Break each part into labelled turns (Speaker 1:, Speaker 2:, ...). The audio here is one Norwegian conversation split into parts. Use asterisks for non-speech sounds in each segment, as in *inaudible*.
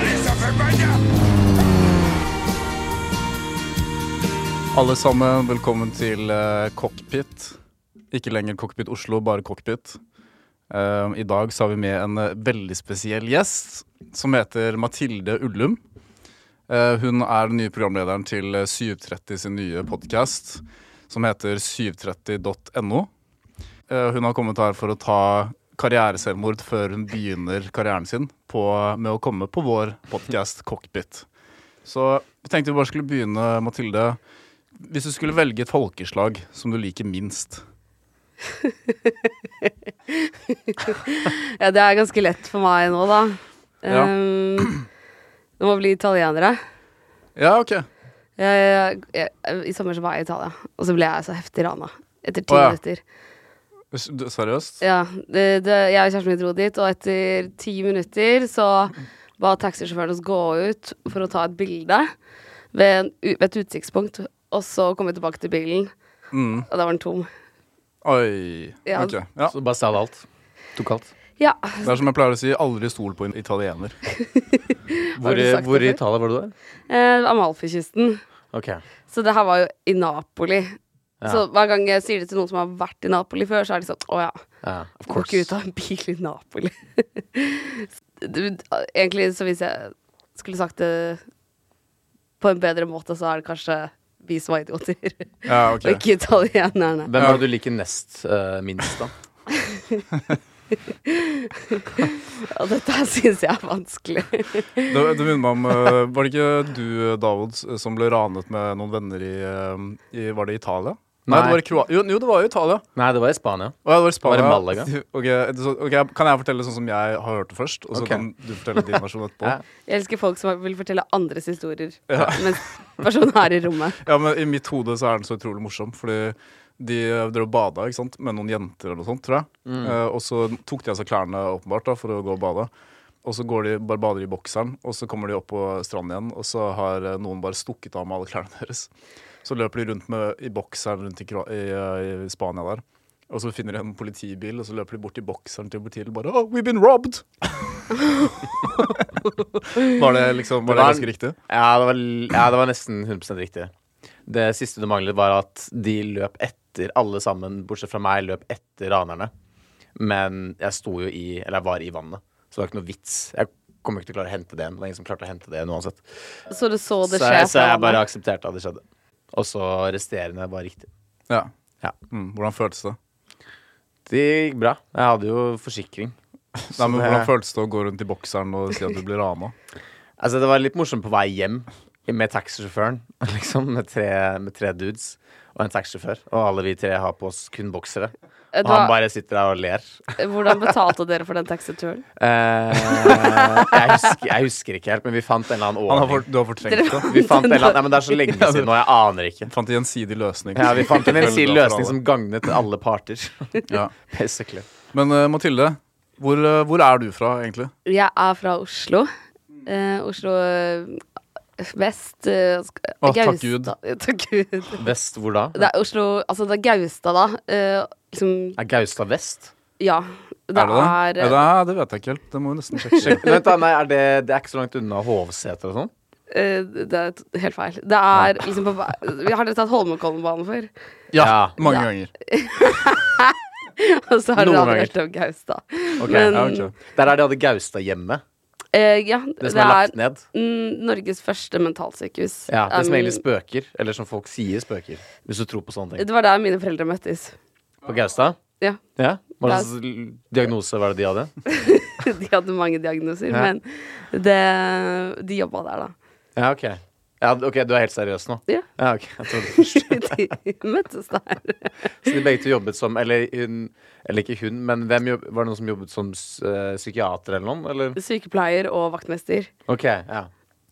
Speaker 1: blir så forbanna!
Speaker 2: Alle sammen, velkommen til eh, Cockpit. Ikke lenger Cockpit Oslo, bare Cockpit. Eh, I dag så har vi med en eh, veldig spesiell gjest som heter Mathilde Ullum. Eh, hun er den nye programlederen til eh, 730 sin nye podkast som heter 730.no. Eh, hun har kommet her for å ta karriereselvmord før hun begynner karrieren sin på, med å komme på vår podkast Cockpit. Så vi tenkte vi bare skulle begynne, Mathilde. Hvis du skulle velge et folkeslag som du liker minst
Speaker 3: Ja, det er ganske lett for meg nå, da.
Speaker 2: Ja.
Speaker 3: Ehm, det må bli italienere.
Speaker 2: Ja, ok.
Speaker 3: Jeg, jeg, jeg, I sommer så var jeg i Italia, og så ble jeg så heftig rana. Etter ti
Speaker 2: Å, ja.
Speaker 3: minutter.
Speaker 2: S- du- Seriøst?
Speaker 3: Ja, det, det, jeg og kjæresten min dro dit, og etter ti minutter så ba taxisjåføren oss gå ut for å ta et bilde ved, en, u- ved et utsiktspunkt. Og så kom vi tilbake til bilen,
Speaker 2: Mm.
Speaker 3: og da var den tom.
Speaker 2: Oi.
Speaker 3: Ja.
Speaker 2: Ok. Ja.
Speaker 4: Så bare stjal alt. Tok alt.
Speaker 3: Ja,
Speaker 2: Det er som jeg pleier å si, aldri stol på en italiener.
Speaker 3: Har
Speaker 4: Hvor,
Speaker 3: du
Speaker 4: i-
Speaker 3: sagt det før?
Speaker 4: hvor i Italia var du der?
Speaker 3: eh, Amalfi-kysten.
Speaker 4: Ok.
Speaker 3: Så det her var jo i Napoli.
Speaker 4: Ja.
Speaker 3: Så hver gang jeg sier det til noen som har vært i Napoli før, så er de sånn Å ja,
Speaker 4: Ja, of
Speaker 3: går ikke
Speaker 4: course.
Speaker 3: ut av en bil i Napoli. *laughs* Du, Egentlig så hvis jeg skulle sagt det på en bedre måte, så er det kanskje vi som var idioter, *laughs*
Speaker 2: Ja, ok.
Speaker 3: og ikke italienerne.
Speaker 4: Hvem
Speaker 2: Ja.
Speaker 4: er det du liker nest eh, minst, da?
Speaker 3: Og dette her syns jeg er vanskelig.
Speaker 2: Det, det minner meg om eh, Var det ikke du, David, s- som ble ranet med noen venner i, eh, i Var det Italia? Nei,
Speaker 4: Nei.
Speaker 2: det var i Kroa... Jo, jo, det var jo Italia.
Speaker 4: Nei, det var i Spania.
Speaker 2: Å, ja, det var i Spania.
Speaker 4: Var det Malaga?
Speaker 2: *laughs* Ok, det- så- ok, Kan jeg fortelle sånn som jeg har hørt det først, og så
Speaker 4: Ok.
Speaker 2: kan du fortelle din versjon etterpå?
Speaker 4: *laughs* Ja.
Speaker 3: Jeg elsker folk som vil fortelle andres historier mens personen er i rommet.
Speaker 2: Ja, men I mitt hode så er den så utrolig morsom, fordi de drev og bada ikke sant? med noen jenter eller noe sånt, tror jeg. Eh, og så tok de av seg klærne åpenbart da, for å gå og bade. Og så går de, bare bader de i bokseren, og så kommer de opp på stranden igjen, og så har eh, noen bare stukket av med alle klærne deres. Så løper de rundt med, i bokseren rundt i, Kro- i, eh, i Spania der. Og så finner de en politibil, og så løper de bort til bokseren til politiet og bare Oh, we've been *laughs* robbed! var det liksom var det
Speaker 4: var-
Speaker 2: ganske riktig?
Speaker 4: Ja, det var, l- ja, det var nesten 100 riktig. Det siste du manglet, var at de løp etter alle sammen, bortsett fra meg, løp etter ranerne. Men jeg sto jo i Eller jeg var i vannet, så det var ikke noe vits. Jeg kommer ikke til å klare å hente det igjen. Det var ingen som klarte å hente det igjen uansett.
Speaker 3: Så du så det
Speaker 4: Så
Speaker 3: skje?
Speaker 4: jeg, så
Speaker 3: fra
Speaker 4: jeg bare
Speaker 3: vannet.
Speaker 4: aksepterte at det skjedde. Og så resterende var riktig.
Speaker 2: Ja.
Speaker 4: Ja.
Speaker 2: Mm, hvordan føltes det?
Speaker 4: Det gikk bra. Jeg hadde jo forsikring.
Speaker 2: Nei, men
Speaker 4: det-
Speaker 2: Hvordan føltes det å gå rundt i bokseren og si at du blir
Speaker 4: *laughs*
Speaker 2: rana?
Speaker 4: Altså, det var litt morsomt på vei hjem med taxisjåføren, *laughs* liksom, med tre, med tre dudes og en taxisjåfør. Og alle vi tre har på oss kun boksere.
Speaker 3: Eh,
Speaker 4: Og han
Speaker 3: da-
Speaker 4: bare sitter der og ler.
Speaker 3: Hvordan betalte dere for den taxituren?
Speaker 4: Eh, jeg, husker, jeg husker ikke helt, men vi fant en eller annen
Speaker 2: Han har
Speaker 4: ordning.
Speaker 2: for, du har fortrengt det.
Speaker 4: Vi fant en
Speaker 3: *laughs*
Speaker 4: eller annen, nei, men Det er så lenge siden nå, jeg aner ikke.
Speaker 2: Fant en gjensidig løsning.
Speaker 4: Ja, Vi fant en ensidig
Speaker 2: Veldig bra for
Speaker 4: løsning som gagnet alle parter. *laughs*
Speaker 2: alle. ja.
Speaker 4: Basically.
Speaker 2: Men eh, Mathilde, hvor, eh, hvor er du fra, egentlig?
Speaker 3: Jeg er fra Oslo. Eh, Oslo eh, vest eh, sk-
Speaker 2: Å, takk
Speaker 3: Gaustad-
Speaker 2: Gud.
Speaker 3: Ja, *laughs* Takk Gud.
Speaker 4: Vest hvor da?
Speaker 3: Det er Oslo Altså, det er Gaustad, da. Eh, liksom
Speaker 4: Er Gaustad vest?
Speaker 3: Ja. Det
Speaker 2: er det det?
Speaker 3: er,
Speaker 2: Ja, det, er, det vet jeg ikke helt. Det må vi nesten sjekke.
Speaker 4: Vent da, nei, er det, det er ikke så langt unna Hovseter og sånn?
Speaker 3: eh, det er t- helt feil. Det er liksom på vei- Vi har dere tatt Holmenkollenbanen før?
Speaker 2: *laughs*
Speaker 3: *laughs*
Speaker 2: Ja,
Speaker 4: Ja.
Speaker 2: mange ganger.
Speaker 3: Og så har
Speaker 4: Noen
Speaker 3: dere aldri
Speaker 4: ganger.
Speaker 3: hørt om Gaustad.
Speaker 4: Ok,
Speaker 3: Men-
Speaker 2: Ja, ok.
Speaker 4: Der er de hadde Gaustad-hjemmet.
Speaker 3: Eh, ja,
Speaker 4: Det
Speaker 3: det,
Speaker 4: som er
Speaker 3: er
Speaker 4: lagt ned.
Speaker 3: mm, Norges første mentalsykehus.
Speaker 4: Ja, det som
Speaker 3: Um,
Speaker 4: egentlig spøker. Eller som folk sier spøker. Hvis du tror på sånne ting.
Speaker 3: det var der mine foreldre møttes.
Speaker 4: På Gaustad?
Speaker 3: Ja. *laughs*
Speaker 4: Ja. Hva slags diagnose var det de hadde?
Speaker 3: De hadde mange diagnoser,
Speaker 4: Ja.
Speaker 3: men det, de jobba der, da.
Speaker 4: Ja, ok. Ja, ok, Du er helt seriøs nå?
Speaker 3: Ja.
Speaker 4: Ja, ok. Jeg trodde først.
Speaker 3: De møttes der.
Speaker 4: Så de begge to jobbet som Eller hun Eller ikke hun, men hvem jobb, var det noen som jobbet som eh, psykiater eller noen? Eller?
Speaker 3: Sykepleier og vaktmester.
Speaker 4: Ok, ja.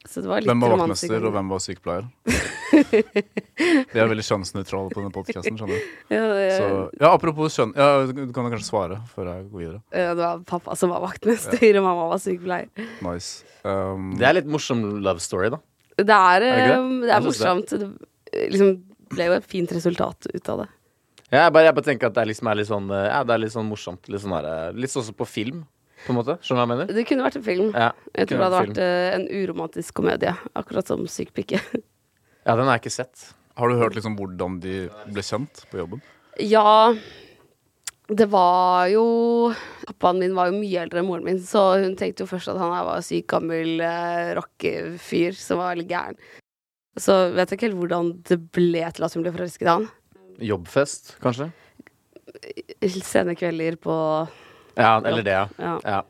Speaker 3: Så det var litt
Speaker 2: Hvem var
Speaker 3: romantisk.
Speaker 2: vaktmester, og hvem var sykepleier?
Speaker 3: *laughs*
Speaker 2: Vi er veldig kjønnsnøytrale på denne podkasten, skjønner du.
Speaker 3: Ja, det,
Speaker 2: Så, ja, apropos kjønn. Ja, du kan jo kanskje svare før jeg går videre.
Speaker 3: ja, det var pappa som var vaktmester, og mamma var sykepleier.
Speaker 2: Nice. Um,
Speaker 4: Det er litt morsom love story, da.
Speaker 3: Det er,
Speaker 4: det ikke det?
Speaker 3: eh, det
Speaker 4: Jeg
Speaker 3: er
Speaker 4: synes det.
Speaker 3: morsomt. Det eh, liksom ble jo et fint resultat ut av det.
Speaker 4: Ja, jeg, bare, jeg bare tenker at det er liksom er litt sånn eh, Ja, det er litt sånn morsomt. Litt sånn her, eh, Litt sånn som på film. på en måte. Skjønner du hva jeg mener?
Speaker 3: Det kunne vært en film. Jeg
Speaker 4: Ja,
Speaker 3: tror det
Speaker 4: kunne
Speaker 3: hadde
Speaker 4: vært
Speaker 3: vært eh, en uromantisk komedie. Akkurat som Syk pikke.
Speaker 4: ja den har jeg ikke sett.
Speaker 2: Har du hørt liksom hvordan de ble kjent på jobben?
Speaker 3: Ja, det var jo Pappaen min var jo mye eldre enn moren min, så hun tenkte jo først at han her var syk gammel eh, rockefyr som var veldig gæren. Så vet jeg ikke helt hvordan det ble til at hun ble forelsket i han.
Speaker 4: Jobbfest, kanskje?
Speaker 3: Sene kvelder på
Speaker 4: Ja, eller det, ja.
Speaker 3: Ja.
Speaker 4: Ja,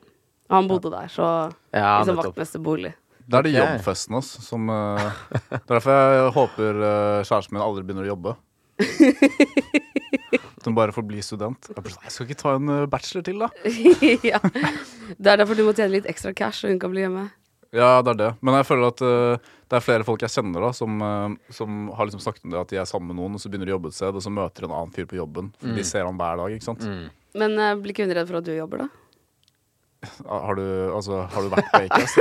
Speaker 3: Han bodde der, så
Speaker 4: ja
Speaker 3: liksom
Speaker 4: nettopp.
Speaker 3: vaktmesterbolig. *laughs*
Speaker 2: Det er det
Speaker 4: Ok.
Speaker 2: jobbfesten hans som eh, Det er derfor jeg håper eh, kjæresten min aldri begynner å *laughs* jobbe. At hun bare får bli student. Jeg bare sånn, Jeg skal ikke ta en eh, bachelor til, da.
Speaker 3: ja. Det er derfor du må tjene litt ekstra cash, så hun kan bli hjemme.
Speaker 2: Ja, det er det. Men jeg føler at eh, det er flere folk jeg kjenner da som, eh, som har liksom snakket om det at de er sammen med noen, og så begynner de å jobbe et sted, og så møter de en annen fyr på jobben. For De ser han hver dag, ikke sant.
Speaker 3: Men eh, blir ikke hun redd for at du jobber, da?
Speaker 2: Har du, altså, har du vært på *laughs* Acast?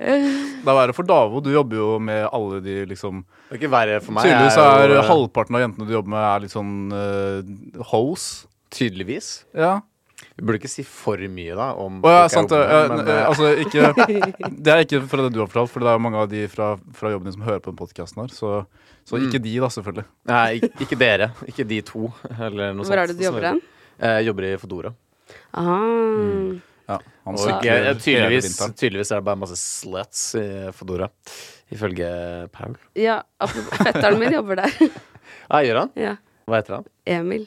Speaker 2: Det er verre for Davo. Du jobber jo med alle de liksom
Speaker 4: Det er ikke verre for meg. jeg
Speaker 2: Tydeligvis er
Speaker 4: jo- eh,
Speaker 2: halvparten av jentene du jobber med, er litt sånn uh, hoes.
Speaker 4: eh, Tydeligvis.
Speaker 2: Ja.
Speaker 4: Vi burde ikke si for mye, da. Om
Speaker 2: Å ja,
Speaker 4: folk er
Speaker 2: sant det.
Speaker 4: homofile,
Speaker 2: Ja, n-
Speaker 4: men, eh,
Speaker 2: altså,
Speaker 4: *laughs*
Speaker 2: ikke, det er ikke fra det du har fortalt, for det er jo mange av de fra, fra jobben din som hører på den podkasten her. Så, så
Speaker 4: Mm.
Speaker 2: ikke de, da, selvfølgelig.
Speaker 4: Nei, ik- ikke dere. Ikke de to, eller noe sånt. sånn
Speaker 3: Hvor er det du jobber hen?
Speaker 4: Jeg jobber i Fodora.
Speaker 3: Aha.
Speaker 4: Mm.
Speaker 2: Ja, han
Speaker 4: Og
Speaker 2: sykler
Speaker 4: ikke, ja,
Speaker 2: hele
Speaker 4: tydeligvis,
Speaker 2: vinteren.
Speaker 4: tydeligvis er det bare masse sluts i Fodora, ifølge Paul.
Speaker 3: Ja, apropos fetteren min jobber der. *laughs*
Speaker 4: Ja, gjør han?
Speaker 3: ja.
Speaker 4: Hva heter han?
Speaker 3: Emil.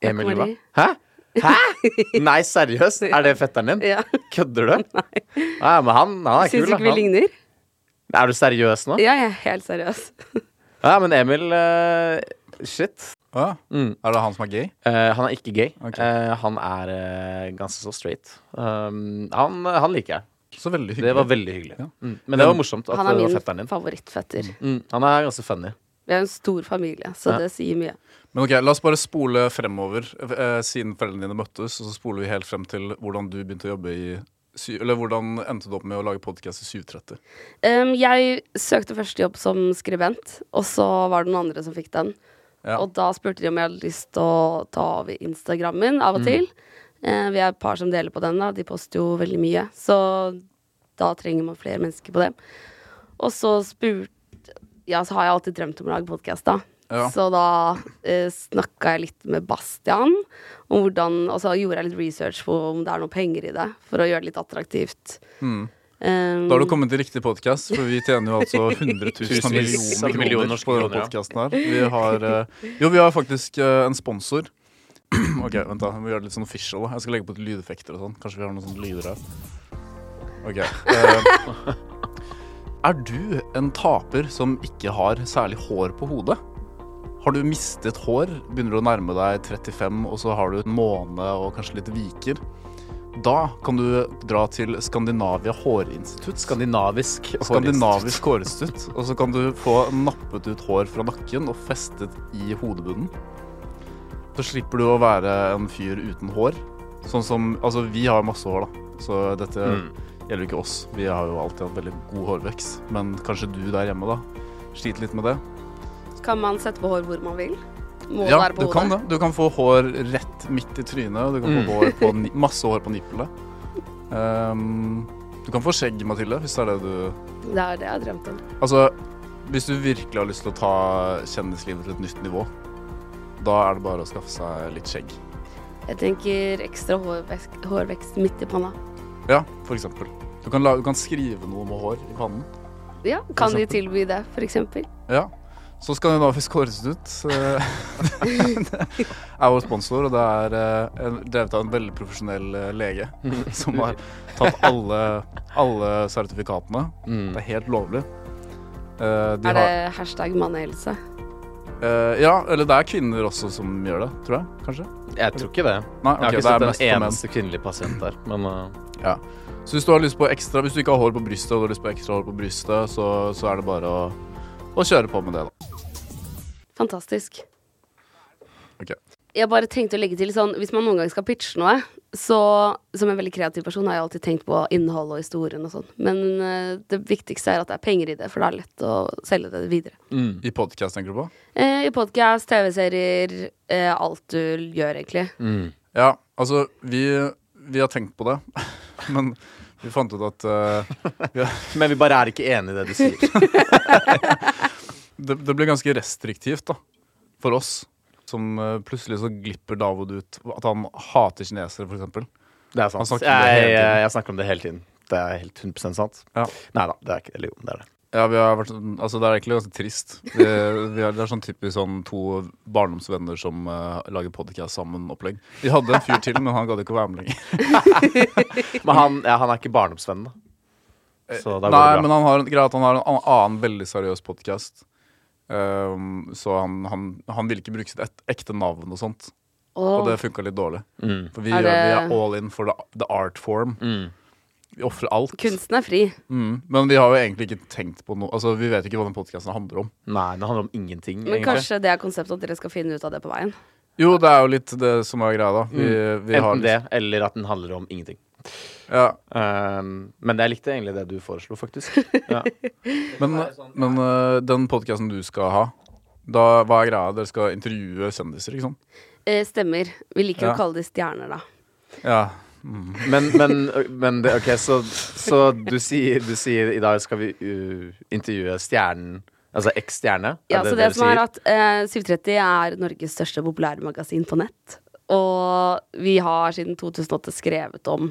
Speaker 4: Emil hva?
Speaker 3: Marie.
Speaker 4: Hæ?
Speaker 3: *laughs*
Speaker 4: Hæ? Nei, seriøst? Er det fetteren din?
Speaker 3: Ja. *laughs*
Speaker 4: Kødder du? Nei, men han, han er
Speaker 3: Syns
Speaker 4: kul.
Speaker 3: du
Speaker 4: da.
Speaker 3: ikke vi
Speaker 4: Han.
Speaker 3: ligner?
Speaker 4: Er du seriøs nå?
Speaker 3: Ja, jeg er helt seriøs.
Speaker 4: Ja, men Emil eh, Shit.
Speaker 2: Å, ja.
Speaker 4: Mm.
Speaker 2: Er det han som er gay?
Speaker 4: Eh, han er ikke gay.
Speaker 2: Ok.
Speaker 4: Eh, han er eh, ganske så straight. Um, han, han liker jeg.
Speaker 2: Så veldig hyggelig.
Speaker 4: Det var veldig hyggelig.
Speaker 2: Ja.
Speaker 4: Mm. Men det var morsomt at
Speaker 3: Han er
Speaker 4: det var fetteren
Speaker 3: min
Speaker 4: din.
Speaker 3: favorittfetter.
Speaker 4: Mm. Han er ganske funny.
Speaker 3: Vi er en stor familie, så
Speaker 4: Ja.
Speaker 3: det sier mye.
Speaker 2: Men ok, La oss bare spole fremover, eh, siden foreldrene dine møttes. Og så spoler vi helt frem til hvordan du begynte å jobbe i sy Eller hvordan endte du opp med å lage podkast i 730?
Speaker 3: Um, jeg søkte første jobb som skribent, og så var det noen andre som fikk den.
Speaker 2: Ja.
Speaker 3: Og da spurte de om jeg hadde lyst til å ta over Instagrammen av
Speaker 2: Mm.
Speaker 3: og til. Eh, vi er et par som deler på den, da. De poster jo veldig mye. Så da trenger man flere mennesker på det. Og så spurte Ja, så har jeg alltid drømt om å lage podkast, da.
Speaker 2: Ja.
Speaker 3: Så da eh, snakka jeg litt med Bastian om hvordan Og så gjorde jeg litt research på om det er noe penger i det, for å gjøre det litt attraktivt. Um,
Speaker 2: Mm. Da har du kommet til riktig podkast, for vi tjener jo
Speaker 4: *laughs*
Speaker 2: altså 100 000
Speaker 4: Tusenvis av
Speaker 2: millioner,
Speaker 4: millioner
Speaker 2: kroner
Speaker 4: norske
Speaker 2: på denne
Speaker 4: kroner, ja.
Speaker 2: podkasten her. Vi har, eh, jo, vi har faktisk eh, en sponsor. *clears throat* Ok, vent da, Vi må gjøre det litt sånn official. Jeg skal legge på litt lydeffekter og sånn. Kanskje vi har noen sånne lyder her. Ok. eh, er du en taper som ikke har særlig hår på hodet? Har du mistet hår? Begynner du å nærme deg 35, og så har du en måne og kanskje litt viker? Da kan du dra til Skandinavia hårinstitutt.
Speaker 4: Skandinavisk.
Speaker 2: Skandinavisk hårstutt. Og så kan du få nappet ut hår fra nakken og festet i hodebunnen. Så slipper du å være en fyr uten hår. Sånn som Altså, vi har masse hår, da. Så dette
Speaker 4: Mm.
Speaker 2: gjelder jo ikke oss. Vi har jo alltid hatt veldig god hårvekst. Men kanskje du der hjemme, da. Sliter litt med det.
Speaker 3: Kan man sette på hår hvor man vil? Må
Speaker 2: Ja,
Speaker 3: være på
Speaker 2: du kan
Speaker 3: hodet.
Speaker 2: det. Du kan få hår rett midt i trynet. og Du kan få hår på, ni- masse hår på nippelet. Ehm, du kan få skjegg, Mathilde, hvis det er det du
Speaker 3: Det. er det jeg har drømt om.
Speaker 2: Altså, hvis du virkelig har lyst til å ta kjendislivet til et nytt nivå, da er det bare å skaffe seg litt skjegg.
Speaker 3: Jeg tenker ekstra hårvekst, hårvekst midt i panna.
Speaker 2: Ja, for eksempel. Du kan, la, du kan skrive noe med hår i pannen.
Speaker 3: Ja, kan de
Speaker 2: eksempel.
Speaker 3: tilby det, for eksempel?
Speaker 2: Ja. Så Skandinavisk Hårstutt *laughs*
Speaker 4: *laughs*
Speaker 2: eh, er vår sponsor, og det er eh, en- drevet av en veldig profesjonell eh,
Speaker 4: *laughs*
Speaker 2: lege som har tatt alle, alle sertifikatene.
Speaker 4: Mm.
Speaker 2: Det er helt lovlig. Eh, de
Speaker 3: er
Speaker 2: har,
Speaker 3: det hashtag mannehelse?
Speaker 2: eh, ja, eller det er kvinner også som gjør det, tror jeg. Kanskje?
Speaker 4: Jeg tror ikke det.
Speaker 2: Nei,
Speaker 4: Jeg har
Speaker 2: ok,
Speaker 4: ikke sett
Speaker 2: det er
Speaker 4: den
Speaker 2: mest for menn.
Speaker 4: eneste kvinnelige pasient der. Men eh,
Speaker 2: Ja. Så hvis du har lyst på ekstra Hvis du ikke har hår på brystet, og du har lyst på ekstra hår på brystet, så, så er det bare å, å kjøre på med det, da.
Speaker 3: Fantastisk.
Speaker 2: Ok.
Speaker 3: Jeg bare tenkte å legge til sånn, hvis man noen gang skal pitche noe, så som en veldig kreativ person har jeg alltid tenkt på innhold og historien og sånn. Men eh, det viktigste er at det er penger i det, for det er lett å selge det videre.
Speaker 4: Mm.
Speaker 2: I podkast, tenker du på? Mm.
Speaker 3: Eh, I podkast, TV-serier, eh, alt du gjør, egentlig.
Speaker 2: Ja. Altså, vi, vi har tenkt på det, *laughs* men vi fant ut at eh,
Speaker 4: Men vi bare er ikke enig i det du
Speaker 2: *laughs*
Speaker 4: sier.
Speaker 2: det, det ble ganske restriktivt da, for oss. Som eh, plutselig så glipper Davod ut at han hater kinesere, f.eks.
Speaker 4: Det er
Speaker 2: Han
Speaker 4: sant.
Speaker 2: snakker om det hele
Speaker 4: Jeg, jeg,
Speaker 2: tiden.
Speaker 4: jeg snakker om det hele tiden. Det er helt 100 sant.
Speaker 2: Ja.
Speaker 4: Nei da, det er ikke Eller jo, det er det.
Speaker 2: Ja, vi har vært sånn Altså, det er egentlig ganske trist. Vi, vi er, det er sånn typisk sånn to barndomsvenner som eh, lager podcast sammen-opplegg. Vi hadde en fyr til, men han gadd ikke å være med lenger.
Speaker 4: Men han, ja, han er ikke barndomsvennen, da. Så da
Speaker 2: Eh,
Speaker 4: går
Speaker 2: Nei,
Speaker 4: det
Speaker 2: men
Speaker 4: bra.
Speaker 2: han har, en- greia er at han har en annen, annen veldig seriøs podkast. så han, han, han ville ikke bruke sitt et, ekte navn og sånt. Og
Speaker 3: Åh,
Speaker 2: det funka litt dårlig.
Speaker 4: Mm.
Speaker 2: For vi,
Speaker 3: Er
Speaker 2: gjør, vi
Speaker 3: det-
Speaker 2: er all in for the, the art form.
Speaker 4: Mm.
Speaker 2: Vi ofrer alt.
Speaker 3: kunsten er fri.
Speaker 2: Mm. Men vi har jo egentlig ikke tenkt på noe Altså, Vi vet ikke hva den podkasten handler om.
Speaker 4: Nei, det handler om ingenting,
Speaker 3: Men
Speaker 4: egentlig.
Speaker 3: kanskje det er konseptet at dere skal finne ut av det på veien.
Speaker 2: Jo, det er jo litt det som er greia, da. Vi, vi har,
Speaker 4: Mm. Enten det, eller at den handler om ingenting.
Speaker 2: Ja.
Speaker 4: Um, men jeg likte egentlig det du foreslo, *laughs* faktisk. Ja.
Speaker 2: Men, men øh, den podkasten du skal ha, da, hva er greia? Dere skal intervjue kjendiser, ikke sant?
Speaker 3: Eh, stemmer. Vi liker
Speaker 2: Ja.
Speaker 3: å kalle de stjerner, da.
Speaker 2: Ja.
Speaker 4: Men, men, men det, OK, så, så du, sier, du sier i dag skal vi uh, intervjue stjernen Altså X-stjerne?
Speaker 3: Ja, så det
Speaker 4: dere
Speaker 3: som er
Speaker 4: sier?
Speaker 3: at eh, 730 er Norges største populærmagasin på nett. Og vi har siden 2008 skrevet om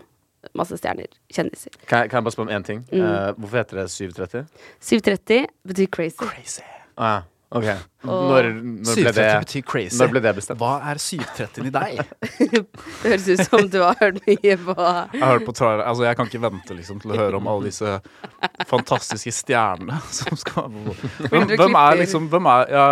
Speaker 3: masse stjerner, kjendiser.
Speaker 4: Kan jeg, kan jeg bare spørre om én ting?
Speaker 3: Mm.
Speaker 4: Eh, hvorfor heter det 730?
Speaker 3: 730 betyr crazy.
Speaker 2: Crazy.
Speaker 4: Ah, ja. ok. Når, når, ble det,
Speaker 2: betyr crazy.
Speaker 4: når ble det bestemt?
Speaker 2: Hva er 730 i deg?
Speaker 3: Det høres ut som du har hørt mye på
Speaker 2: *laughs* Jeg har hørt på trailer, altså jeg kan ikke vente liksom, til å høre om alle disse fantastiske stjernene *laughs* som skal Hvem, hvem er
Speaker 3: du klipper?
Speaker 2: liksom Hvem er ja,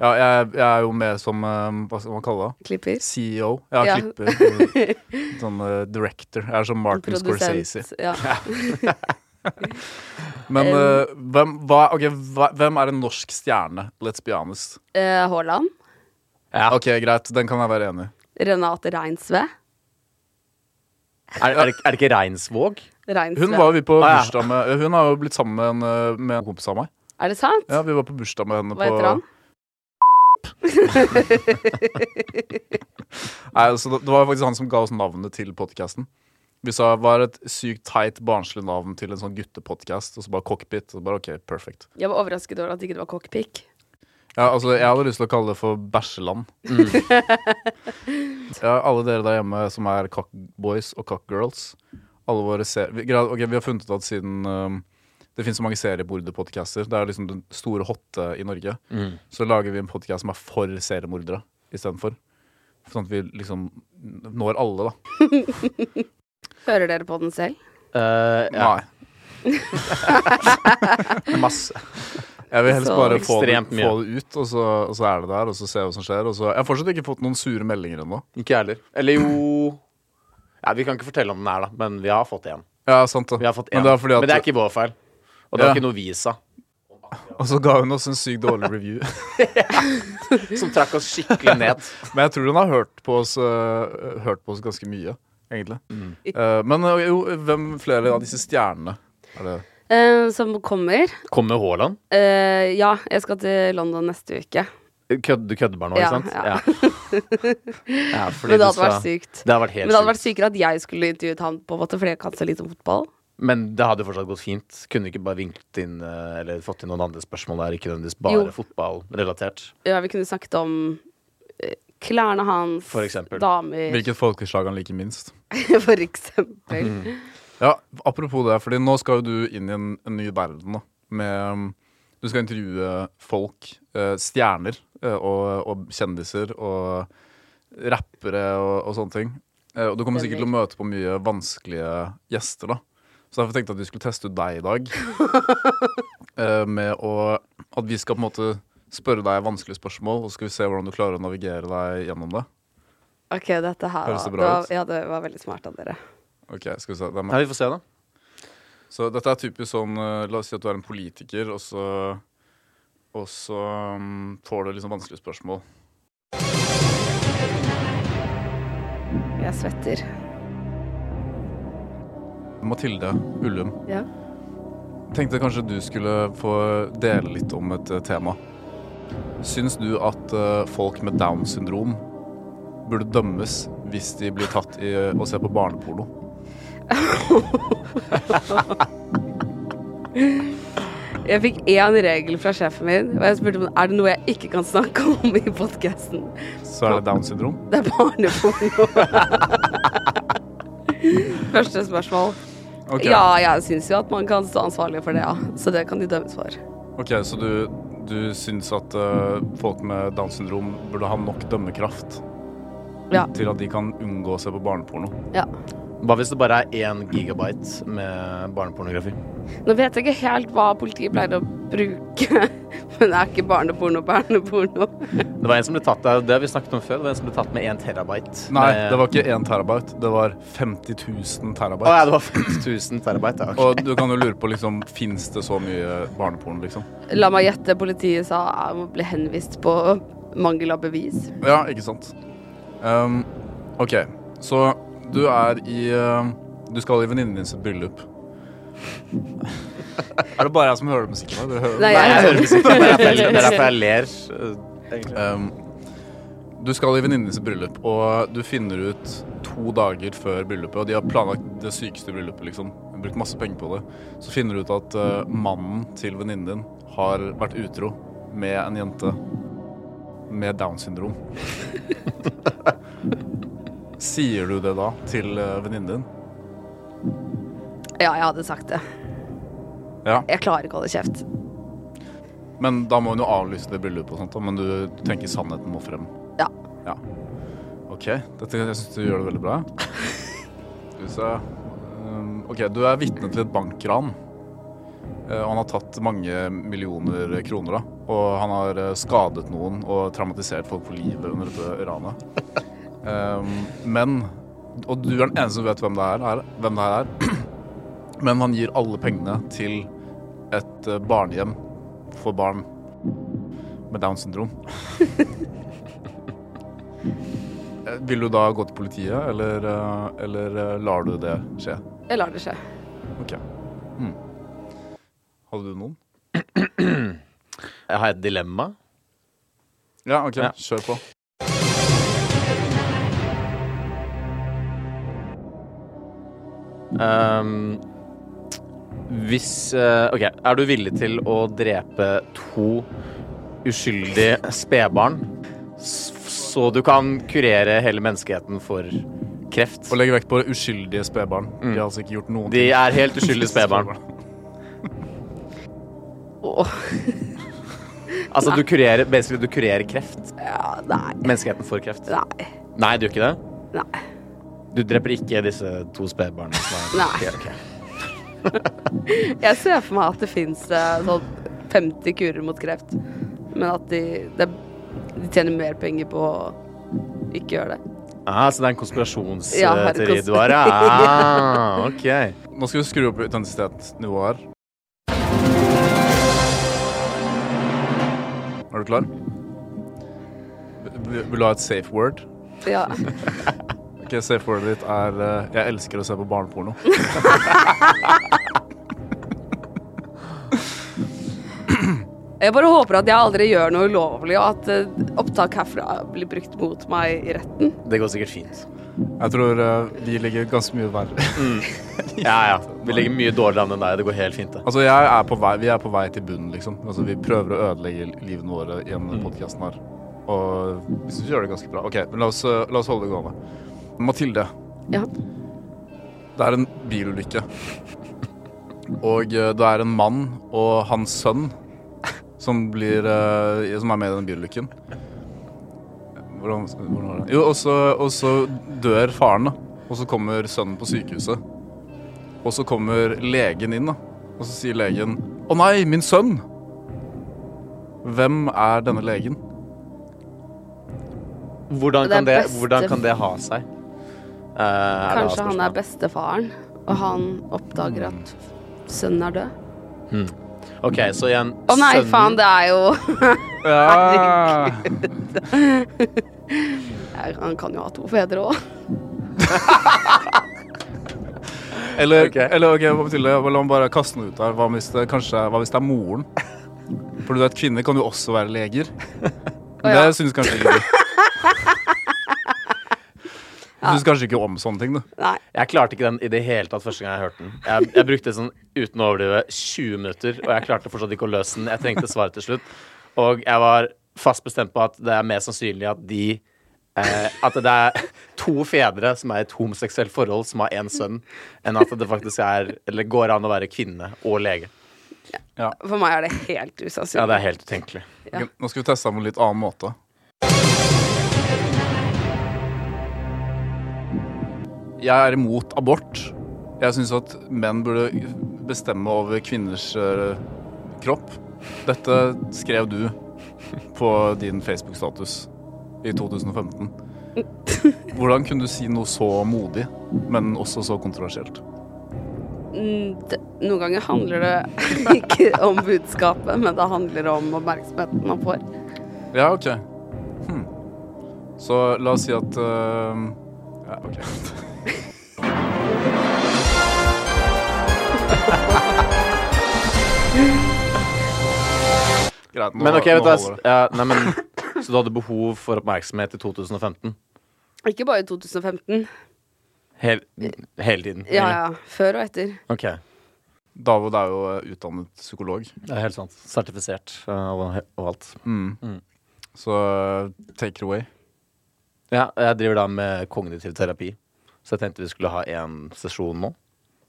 Speaker 2: ja, jeg, jeg er jo med som eh, Hva skal man kalle det?
Speaker 3: klipper.
Speaker 2: CEO. Ja,
Speaker 3: Ja.
Speaker 2: klipper. eh, Sånn eh, director. Jeg er som Martin Scorsese.
Speaker 3: Ja.
Speaker 2: Men eh, hvem, hva, ok, hva, hvem er en norsk stjerne? Let's be honest.
Speaker 3: Eh, Haaland.
Speaker 4: Ja.
Speaker 2: Ok, Greit, den kan jeg være enig i.
Speaker 3: Renate Reinsve.
Speaker 4: Er, er, det, er det ikke Reinsvåg?
Speaker 3: Reinsve.
Speaker 2: Hun var vi på
Speaker 4: Ah, ja.
Speaker 2: bursdag med Hun har jo blitt sammen med en, eh, med en kompis av meg.
Speaker 3: Er det sant?
Speaker 2: Ja, Vi var på bursdag med henne
Speaker 3: Hva
Speaker 2: på
Speaker 3: heter han?
Speaker 2: Nei, altså, det, det var faktisk han som ga oss navnet til podkasten. Vi sa hva er et sykt teit, barnslig navn til en sånn guttepodkast? Og så bare cockpit. Og så bare OK, perfect.
Speaker 3: Jeg var overrasket over at det ikke var cockpic.
Speaker 2: Ja, altså, jeg hadde lyst til å kalle det for Bæsjeland. *laughs* ja, alle dere der hjemme som er cockboys og cockgirls. Alle våre ser... Vi, gra- ok, vi har funnet ut at siden um, det finnes så mange seriemorderpodcaster, det er liksom den store hotte i Norge, så lager vi en podcast som er for seriemordere istedenfor. Sånn at vi liksom når alle, da.
Speaker 3: Hører dere på den selv?
Speaker 4: Eh, ja.
Speaker 2: Nei.
Speaker 4: *laughs* Masse.
Speaker 2: Jeg vil helst
Speaker 3: Så
Speaker 2: bare få det,
Speaker 4: ekstremt mye.
Speaker 2: få det ut, og så, og så er det der, og så ser vi hva som skjer. Og så, jeg har fortsatt ikke fått noen sure meldinger ennå.
Speaker 4: Ikke jeg heller. Eller jo ja, Vi kan ikke fortelle om den er, da, men vi har fått én.
Speaker 2: Ja, sant det.
Speaker 4: Vi har fått
Speaker 2: Men
Speaker 4: en.
Speaker 2: det er fordi at
Speaker 4: Men det er ikke vår feil. Og det var
Speaker 2: Ja.
Speaker 4: ikke noe vi sa.
Speaker 2: Og så ga hun oss en sykt dårlig review.
Speaker 4: *laughs* Som trakk oss skikkelig *laughs* ned.
Speaker 2: Men jeg tror hun har hørt på oss, øh, hørt på oss ganske mye, egentlig.
Speaker 4: Mm.
Speaker 2: Eh, men øh, jo, hvem flere av disse stjernene er det?
Speaker 3: Eh, som kommer.
Speaker 4: Kommer Haaland?
Speaker 3: Eh, ja, jeg skal til London neste uke.
Speaker 4: Kødd, du kødder bare nå,
Speaker 3: Ja,
Speaker 4: ikke sant?
Speaker 3: ja.
Speaker 4: Ja,
Speaker 3: *laughs*
Speaker 4: fordi
Speaker 3: Men det
Speaker 4: du
Speaker 3: hadde vært
Speaker 4: sa-
Speaker 3: sykt.
Speaker 4: Det hadde vært
Speaker 3: Men
Speaker 4: helt
Speaker 3: det hadde vært
Speaker 4: sykt.
Speaker 3: sykere at jeg skulle intervjuet han, på en måte, fordi jeg kan så lite om fotball.
Speaker 4: Men det hadde jo fortsatt gått fint. Kunne vi ikke bare vinklet inn eh, eller fått inn noen andre spørsmål der, ikke nødvendigvis bare
Speaker 3: Jo.
Speaker 4: fotballrelatert.
Speaker 3: Ja, vi kunne snakket om eh, klærne hans,
Speaker 4: For eksempel.
Speaker 3: damer
Speaker 2: Hvilket folkeslag han liker minst?
Speaker 3: *laughs* For eksempel.
Speaker 4: Mhm.
Speaker 2: Ja, Apropos det, fordi nå skal jo du inn i en, en ny verden. da med, um, Du skal intervjue folk, eh, stjerner eh, og, og kjendiser og rappere og, og sånne ting. Eh, og du kommer sikkert til å møte på mye vanskelige gjester, da. Så derfor tenkte jeg at vi skulle teste ut deg i dag. Eh, med å At vi skal på en måte spørre deg vanskelige spørsmål, og så skal vi se hvordan du klarer å navigere deg gjennom det.
Speaker 3: Ok, dette her
Speaker 2: Høres det
Speaker 3: var-
Speaker 2: bra
Speaker 3: var-
Speaker 2: ut?
Speaker 3: Ja, det var veldig smart av dere.
Speaker 2: Ok, skal vi se. Det er meg.
Speaker 4: Ja, vi får se, da.
Speaker 2: Så dette er typisk sånn eh, La oss si at du er en politiker, og så Og så mm, får du liksom vanskelige spørsmål.
Speaker 3: Jeg svetter.
Speaker 2: Mathilde Ullum,
Speaker 3: Ja.
Speaker 2: tenkte kanskje du skulle få dele litt om et eh, tema. Syns du at eh, folk med Downs syndrom burde dømmes hvis de blir tatt i å se på barneporno.
Speaker 3: Jeg fikk én regel fra sjefen min, og jeg spurte om er det noe jeg ikke kan snakke *laughs* om i podkasten.
Speaker 2: Så er det Downs syndrom.
Speaker 3: Det er barneporno. *laughs* Første spørsmål.
Speaker 2: Ok,
Speaker 3: Ja, jeg syns jo at man kan stå ansvarlig for det, ja. Så det kan de dømmes for.
Speaker 2: Ok, så du, du syns at eh, folk med Downs syndrom burde ha nok dømmekraft
Speaker 3: Ja.
Speaker 2: til at de kan unngå å se på barneporno?
Speaker 3: ja.
Speaker 4: Hva hvis det bare er én gigabyte med barnepornografi?
Speaker 3: Nå vet jeg ikke helt hva politiet pleier å bruke, *laughs* men det er ikke barneporno, barneporno.
Speaker 4: Det var en som ble tatt der, det har vi snakket om før. Det var en som ble tatt med én terabyte.
Speaker 2: Nei,
Speaker 4: med,
Speaker 2: det var ikke 1 terabyte, det var 50 000
Speaker 4: Å ja,
Speaker 2: terabyte.
Speaker 4: det var 5000 terabyte. Ja, ok.
Speaker 2: Og du kan jo lure på liksom, fins det så mye barneporno, liksom?
Speaker 3: La meg gjette, politiet sa jeg må bli henvist på mangel av bevis.
Speaker 2: Ja, ikke sant. Ehm, OK, så du er i eh, Du skal i venninnen din sitt bryllup. er det bare jeg som hører det musikken? her? Dere hører-
Speaker 3: Nei,
Speaker 4: Nei, jeg hører musikk. Det er derfor *laughs* jeg- det er
Speaker 3: *laughs*
Speaker 4: derfor jeg ler.
Speaker 2: Ehm, du skal i venninnen din sitt bryllup, og du finner ut to dager før bryllupet, og de har planlagt det sykeste bryllupet, liksom. Brukt masse penger på det. Så finner du ut at eh, mannen til venninnen din har vært utro med en jente med Downs syndrom. *laughs* Sier du det da til eh, venninnen din?
Speaker 3: Ja, jeg hadde sagt det.
Speaker 2: Ja.
Speaker 3: Jeg klarer ikke å holde kjeft.
Speaker 2: Men da må hun jo avlyse det bryllupet og sånt, da, men du, du tenker sannheten må frem.
Speaker 3: Ja.
Speaker 2: Ja. OK. Dette, jeg syns du gjør det veldig bra. Skal vi se Um, OK, du er vitne til et bankran. Eh, Og han har tatt mange millioner kroner, da. Og han har eh, skadet noen og traumatisert folk for livet under dette ranet. Um, men Og du er den eneste som vet hvem det her er, hvem det her er. *clears throat* Men han gir alle pengene til et eh, barnehjem for barn med Downs syndrom. Eh, Vil du da gå til politiet, eller, eh, eller eh, lar du det skje?
Speaker 3: Jeg lar det skje.
Speaker 2: Ok. Mm. Hadde du noen?
Speaker 4: Jeg har et dilemma.
Speaker 2: Ja, ok.
Speaker 4: Ja.
Speaker 2: Kjør på.
Speaker 4: Ehm, hvis eh, OK. Er du villig til å drepe to uskyldige spedbarn s- så du kan kurere hele menneskeheten for kreft?
Speaker 2: Og legge vekt på uskyldige spedbarn. De har altså ikke gjort noen
Speaker 4: Mm. De er helt uskyldige spedbarn.
Speaker 3: Åh,
Speaker 4: Altså, du kurerer, basically, du kurerer kreft.
Speaker 3: ja, nei,
Speaker 4: Menneskeheten for kreft.
Speaker 3: nei,
Speaker 4: Nei, du gjør ikke det?
Speaker 3: nei.
Speaker 4: Du dreper ikke disse to spedbarna? som er-
Speaker 3: Nei.
Speaker 4: Ok, ok.
Speaker 3: Jeg ser for meg at det fins sånn 50 kurer mot kreft, men at de, det- de tjener mer penger på å ikke gjøre det.
Speaker 4: Ah, så det er
Speaker 3: Ja, her
Speaker 4: en
Speaker 3: er
Speaker 4: konspirasjonsteori
Speaker 3: kons-
Speaker 4: du
Speaker 3: *laughs*
Speaker 4: har? Ja. Ah, ok.
Speaker 2: Nå skal vi skru opp intensitetsnivået her. Er du klar? Vil vil du ha et safe word?
Speaker 3: Ja.
Speaker 2: Ok, safe wordet ditt er eh, 'jeg elsker å se på barneporno'.
Speaker 3: Jeg bare håper at jeg aldri gjør noe ulovlig, og at eh, opptak herfra blir brukt mot meg i retten.
Speaker 4: Det går sikkert fint.
Speaker 2: Jeg tror eh, vi ligger ganske mye verre.
Speaker 4: Ja, ja. Vi ligger mye dårligere an enn deg. Det går helt fint. det.
Speaker 2: Altså, jeg er på vei, vi er på vei til bunnen, liksom. Altså, vi prøver å ødelegge livene våre gjennom denne podcasten her. Og vi synes vi gjør det ganske bra. Ok, men la oss, eh, la oss holde det gående. Mathilde,
Speaker 3: Ja.
Speaker 2: det er en bilulykke. Og eh, det er en mann og hans sønn som, blir, eh, som er med i den bilulykken. Hvordan, hvordan var det? Jo, og så, og så dør faren, da. Og så kommer sønnen på sykehuset. Og så kommer legen inn, da. Og så sier legen Å nei, min sønn! Hvem er denne legen?
Speaker 4: Hvordan
Speaker 3: Det er
Speaker 4: kan det,
Speaker 3: beste-
Speaker 4: hvordan kan det ha seg? Eh, er det
Speaker 3: Kanskje
Speaker 4: et
Speaker 3: han er
Speaker 4: spørsmål?
Speaker 3: bestefaren, og han oppdager at sønnen er død.
Speaker 4: OK, så igjen
Speaker 3: Å nei,
Speaker 4: sønnen-
Speaker 3: faen, det er jo
Speaker 2: Ja.
Speaker 3: Han kan jo ha to fedre òg.
Speaker 2: Eller,
Speaker 4: Ok.
Speaker 2: eller ok, hva betyr det? La meg bare kaste den ut der. Hva hvis det, kanskje, hva hvis det er moren? For du vet, kvinner kan jo også være leger. Men
Speaker 3: ja.
Speaker 2: Det synes kanskje ikke du. Du syns kanskje ikke om sånne ting, du.
Speaker 3: Nei.
Speaker 4: Jeg klarte ikke den i det hele tatt første gang jeg hørte den. Jeg, jeg brukte sånn uten å overdrive 20 minutter, og jeg klarte fortsatt ikke å løse den. Jeg trengte svaret til slutt. Og jeg var fast bestemt på at det er mer sannsynlig at de eh, At det er to fedre som er i et homoseksuelt forhold, som har én sønn, enn at det faktisk er Eller går an å være kvinne og lege.
Speaker 3: For meg er det helt
Speaker 4: Ja, det
Speaker 3: usannsynlig.
Speaker 4: er helt utenkelig.
Speaker 3: Ja.
Speaker 2: Ok, Nå skal vi teste den på en litt annen måte. Jeg er imot abort. Jeg syns at menn burde bestemme over kvinners eh, kropp. Dette skrev du på din Facebook-status i 2015. Hvordan kunne du si noe så modig, men også så kontroversielt?
Speaker 3: Mm, det, noen ganger handler det *laughs* ikke om budskapet, men det handler om oppmerksomheten man får.
Speaker 2: Ja, OK. Hm. Så la oss si at eh, Ja, OK. *laughs* Greit. Nå,
Speaker 4: Men ok, vet
Speaker 2: nå
Speaker 4: du hva,
Speaker 2: holder det.
Speaker 4: ja, nei, men, Så du hadde behov for oppmerksomhet i 2015?
Speaker 3: Ikke bare i 2015.
Speaker 4: Hel, hele tiden?
Speaker 3: Ja, ja. Før og etter.
Speaker 4: Ok.
Speaker 2: David er jo eh, utdannet psykolog,
Speaker 4: Det er helt sant. Sertifisert eh, og, og alt.
Speaker 2: Hmm. Mm. så eh, take it away.
Speaker 4: Ja, og jeg driver da med kognitiv terapi. Så jeg tenkte vi skulle ha én sesjon nå.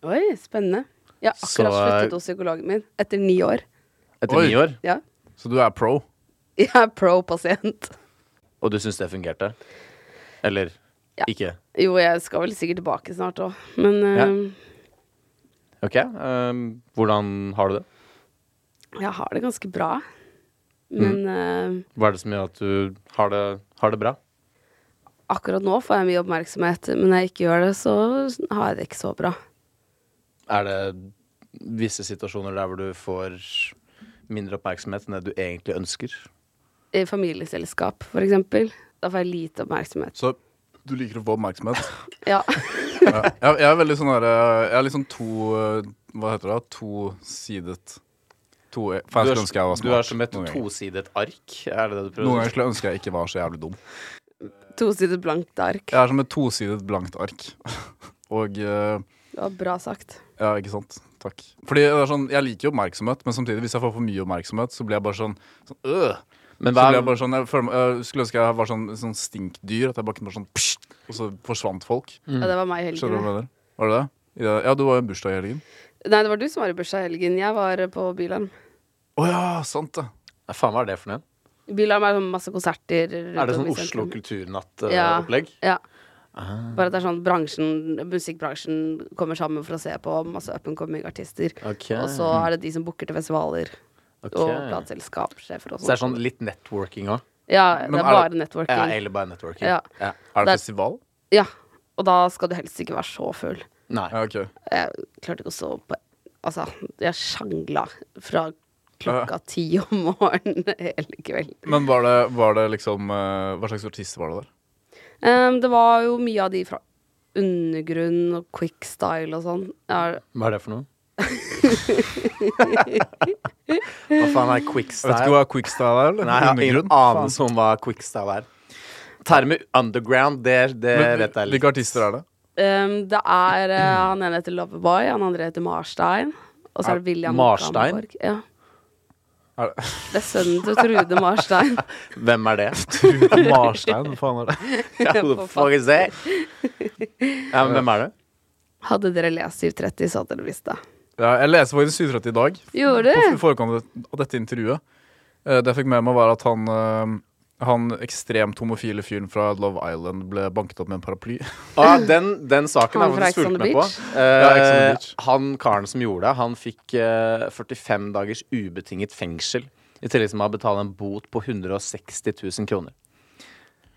Speaker 3: Oi, spennende. Jeg har
Speaker 4: Så,
Speaker 3: akkurat sluttet hos psykologen min etter ni år.
Speaker 4: Etter
Speaker 2: Oi.
Speaker 4: ni år.
Speaker 3: Ja.
Speaker 2: Så du er pro?
Speaker 3: Jeg er pro-pasient.
Speaker 4: Og du syns det fungerte? Eller
Speaker 3: Ja.
Speaker 4: ikke?
Speaker 3: Jo, jeg skal vel sikkert tilbake snart òg, men eh,
Speaker 4: OK. ehm, hvordan har du det?
Speaker 3: jeg har det ganske bra. Men eh,
Speaker 4: Hva er det som gjør at du har det, har det bra?
Speaker 3: akkurat nå får jeg mye oppmerksomhet. Men når jeg ikke gjør det, så har jeg det ikke så bra.
Speaker 4: Er det visse situasjoner der hvor du får mindre oppmerksomhet enn det du egentlig ønsker?
Speaker 3: I familieselskap, for eksempel. Da får jeg lite oppmerksomhet.
Speaker 2: Så du liker å få oppmerksomhet?
Speaker 3: Ja.
Speaker 2: Ja. Jeg, jeg er veldig sånn her eh, Jeg er liksom to eh, Hva heter det? Tosidet to, For jeg
Speaker 4: du
Speaker 2: skulle ønske jeg var
Speaker 4: er,
Speaker 2: smart.
Speaker 4: du er som et
Speaker 2: noen ganger.
Speaker 4: tosidet ark. Er det det du
Speaker 2: Noen
Speaker 4: prøver å
Speaker 2: ganger
Speaker 4: si?
Speaker 2: skulle jeg ønske jeg ikke var så jævlig dum.
Speaker 3: Tosidet blankt ark.
Speaker 2: Jeg er som et tosidet blankt ark. *laughs* Og eh,
Speaker 3: Det var bra sagt.
Speaker 2: Ja, ikke sant? Takk. Fordi det er sånn, Jeg liker jo oppmerksomhet, men samtidig, hvis jeg får for mye oppmerksomhet, så blir jeg bare sånn, sånn øh.
Speaker 4: Men
Speaker 2: Så
Speaker 4: hva
Speaker 2: blir jeg
Speaker 4: er,
Speaker 2: bare sånn, jeg, føler, meg- jeg skulle ønske jeg var sånn, sånn stinkdyr, at jeg bare kunne bare sånn pssst, Og så forsvant folk.
Speaker 4: Mm.
Speaker 3: Ja, det var meg i
Speaker 2: Skjønner du hva
Speaker 3: helgen.
Speaker 2: jeg mener? Var det det? I det- Ja, du var jo i bursdag i helgen.
Speaker 3: Nei, det var du som var i bursdag i helgen. Jeg var eh, på Bylarm.
Speaker 2: Å ja, sant det.
Speaker 4: faen, hva er det for noe?
Speaker 3: Bylarm er sånn masse konserter. rundt
Speaker 4: Er det
Speaker 3: om
Speaker 4: sånn
Speaker 3: i
Speaker 4: Oslo eh,
Speaker 3: sentrum. Ja.
Speaker 4: kulturnatt-opplegg?
Speaker 3: Ja.
Speaker 4: Ah.
Speaker 3: Bare at det er sånn bransjen, musikkbransjen kommer sammen for å se på masse up and coming artister.
Speaker 4: Ok.
Speaker 3: Og så er det de som booker til festivaler.
Speaker 4: Ok.
Speaker 3: Og plateselskapssjefer og
Speaker 4: Så det er
Speaker 3: sånn.
Speaker 4: sånn litt networking òg?
Speaker 3: Ja,
Speaker 2: Men
Speaker 3: det
Speaker 2: er
Speaker 3: er bare
Speaker 4: Ja,
Speaker 3: networking.
Speaker 4: egentlig bare networking.
Speaker 3: Ja.
Speaker 2: Er
Speaker 3: Der-
Speaker 2: det festival?
Speaker 3: Ja. Og da skal du helst ikke være så full.
Speaker 4: Nei.
Speaker 2: Ja, ok.
Speaker 3: Jeg klarte ikke å sove på Altså, jeg sjangla fra klokka ti om morgenen *laughs* hele kvelden.
Speaker 2: Men var det, var det liksom eh, Hva slags artist var det der?
Speaker 3: Em, det var jo mye av de fra undergrunn og quickstyle og sånn. Jeg har-
Speaker 4: Hva er det for noe? hva faen er
Speaker 2: Jeg
Speaker 4: quickstyle?
Speaker 2: vet ikke hva Quickstyle er, eller?
Speaker 4: Nei, jeg har ingen
Speaker 2: Undergrunn?
Speaker 4: anelse om hva quickstyle er. Termet underground, det, det
Speaker 2: Men
Speaker 4: vet jeg litt.
Speaker 2: Hvilke artister er det?
Speaker 3: Em, det er eh, Han ene heter Loveboy, han andre heter Marstein. Og så er det William
Speaker 4: Marstein?
Speaker 3: Gamborg. Ja.
Speaker 2: Er det?
Speaker 3: Det er sønnen til Trude Marstein.
Speaker 4: Hvem er *laughs* det?
Speaker 3: *laughs*
Speaker 2: Trude Marstein? Hva faen er det?
Speaker 4: Who the fuck is that? Ja, men hvem er det?
Speaker 3: Hadde dere lest 730, så hadde dere visst det.
Speaker 2: Ja, jeg leser faktisk 730 i dag.
Speaker 3: Gjorde
Speaker 2: På
Speaker 3: du?
Speaker 2: forkant av dette intervjuet. Eh, Det jeg fikk med meg, var at han eh, han ekstremt homofile fyren fra Love Island ble banket opp med en paraply.
Speaker 4: *laughs* Ah, den, den saken
Speaker 3: Han
Speaker 4: har
Speaker 3: fra
Speaker 4: jeg
Speaker 3: Ex
Speaker 4: faktisk
Speaker 3: on
Speaker 4: fulgt
Speaker 3: the
Speaker 4: med på.
Speaker 3: Beach?
Speaker 4: Eh,
Speaker 2: Ja, Ex on the Beach.
Speaker 4: han karen som gjorde det, han fikk eh, 45 dagers ubetinget fengsel. I tillegg som å betale en bot på 160 000 kroner.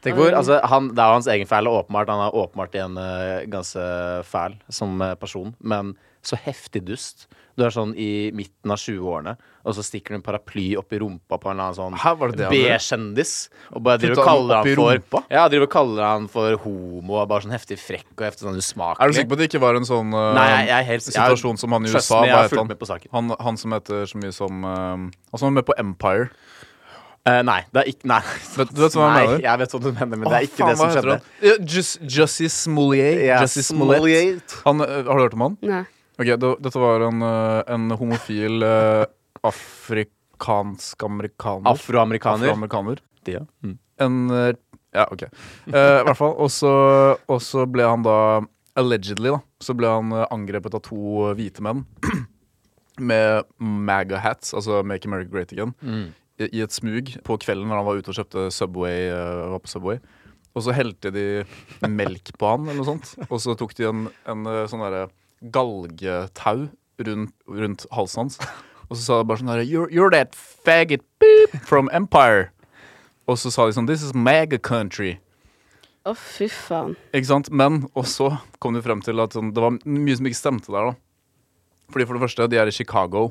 Speaker 4: Tenk hvor,
Speaker 3: Oi.
Speaker 4: altså, han, det er jo hans egen feil, og åpenbart. Han er åpenbart igjen eh, ganske fæl som eh, person, men så heftig dust. Du er sånn i midten av 20-årene, og så stikker du en paraply opp i rumpa på en eller annen
Speaker 2: Hæ, var
Speaker 4: sånn
Speaker 2: det det han gjorde?
Speaker 4: B-kjendis. Og bare driver
Speaker 2: Putta
Speaker 4: og
Speaker 2: han opp
Speaker 4: kaller
Speaker 2: i
Speaker 4: han for
Speaker 2: rumpa?
Speaker 4: ja, jeg driver og kaller han for homo og bare sånn heftig frekk og heftig sånn usmakelig.
Speaker 2: Er du sikker på at det ikke var en sånn eh,
Speaker 4: Nei, jeg- jeg er helt-
Speaker 2: situasjon som han i
Speaker 4: Trust
Speaker 2: USA?
Speaker 4: me, jeg
Speaker 2: Hva
Speaker 4: har
Speaker 2: het
Speaker 4: fulgt
Speaker 2: han?
Speaker 4: med på saken.
Speaker 2: han? Han som heter så mye som eh, Han som var med på Empire.
Speaker 4: Eh, nei, det er ikke Nei.
Speaker 2: Vet du vet hva jeg
Speaker 4: nei
Speaker 2: mener?
Speaker 4: jeg vet hva du mener, men det er
Speaker 2: Å,
Speaker 4: ikke
Speaker 2: faen,
Speaker 4: det som
Speaker 2: hva heter
Speaker 4: skjedde.
Speaker 2: han? Ja, Jus- Justice Smollett.
Speaker 4: Ja,
Speaker 2: Justice Smollett.
Speaker 4: Smollett.
Speaker 2: Han, ø, har du hørt om han?
Speaker 3: Nei.
Speaker 2: Ok, det, Dette var en, ø, en homofil ø, afrikansk-amerikaner.
Speaker 4: Afroamerikaner.
Speaker 2: Afroamerikaner.
Speaker 4: Ja. Mm.
Speaker 2: En ø, Ja, OK. Eh, I hvert fall. Og så og så ble han da Allegedly, da. Så ble han ø, angrepet av to ø, hvite menn *clears throat* med MAGA-hats, altså Make America Great Again. i i et smug på kvelden når han var ute og kjøpte Subway. eh, var på Subway. Og så helte de melk på han, eller noe sånt. Og så tok de en, en eh, sånn derre galgetau rundt, rundt halsen hans. Og så sa de bare sånn herre you're, you're that faggot beep from Empire. Og så sa de sånn This is mega country.
Speaker 3: Å, fy
Speaker 2: *laughs*
Speaker 3: faen.
Speaker 2: Ikke sant? Men og så kom de frem til at sånn, det var mye som ikke stemte der. da Fordi For det første, de er i Chicago,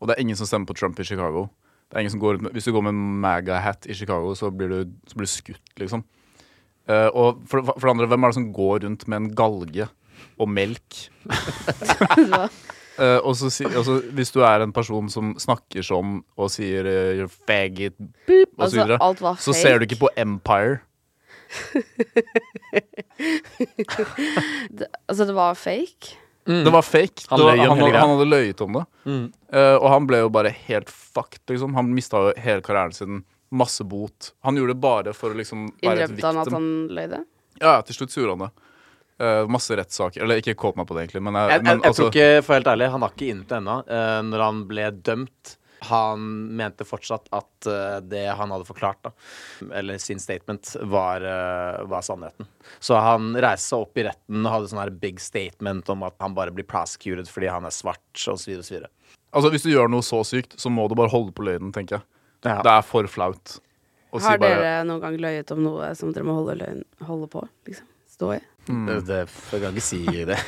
Speaker 2: og det er ingen som stemmer på Trump i Chicago. Det er ingen som går ut med, Hvis du går med en MAGA-hat i Chicago, så blir du, så blir du skutt, liksom. Eh, og for, for det andre, hvem er det som går rundt med en galge og melk? Eh, og så, si, og så hvis du er en person som snakker sånn og sier eh, You're faggot, beep, og så
Speaker 3: Altså,
Speaker 2: videre,
Speaker 3: alt var
Speaker 2: så
Speaker 3: fake.
Speaker 2: ser du ikke på Empire.
Speaker 3: Altså, det var fake.
Speaker 2: Det var fake.
Speaker 4: Han
Speaker 2: Det var,
Speaker 4: løy om
Speaker 2: han,
Speaker 4: hele
Speaker 2: hadde-
Speaker 4: greia. Mm.
Speaker 2: han hadde løyet om det. Eh, og han ble jo bare helt fucked, liksom. Han mista jo hele karrieren sin. Masse bot. Han gjorde det bare for å liksom være et
Speaker 3: Innrømte han at
Speaker 2: victim.
Speaker 3: han løy det?
Speaker 2: Ja, ja, til slutt så gjorde han det. Eh, masse rettssaker. Eller ikke kåp meg på det, egentlig, men, jeg,
Speaker 4: Jeg, jeg,
Speaker 2: men
Speaker 4: jeg
Speaker 2: altså
Speaker 4: tror ikke, for helt ærlig, han har ikke innet ennå. Uh, når han ble dømt Han mente fortsatt at eh, det han hadde forklart, da, eller sin statement, var, eh, var sannheten. Så han reiste seg opp i retten og hadde sånn her big statement om at han bare blir prosecuted fordi han er svart, og så videre og så videre.
Speaker 2: Altså, hvis du gjør noe så sykt, så må du bare holde på løgnen, tenker jeg.
Speaker 4: Ja.
Speaker 2: Det er for flaut. å si
Speaker 3: Har
Speaker 2: bare-
Speaker 3: dere noen gang løyet om noe som dere må holde, løgn, holde på? Liksom? Stå i?
Speaker 4: Det, det, jeg kan ikke si *laughs* det.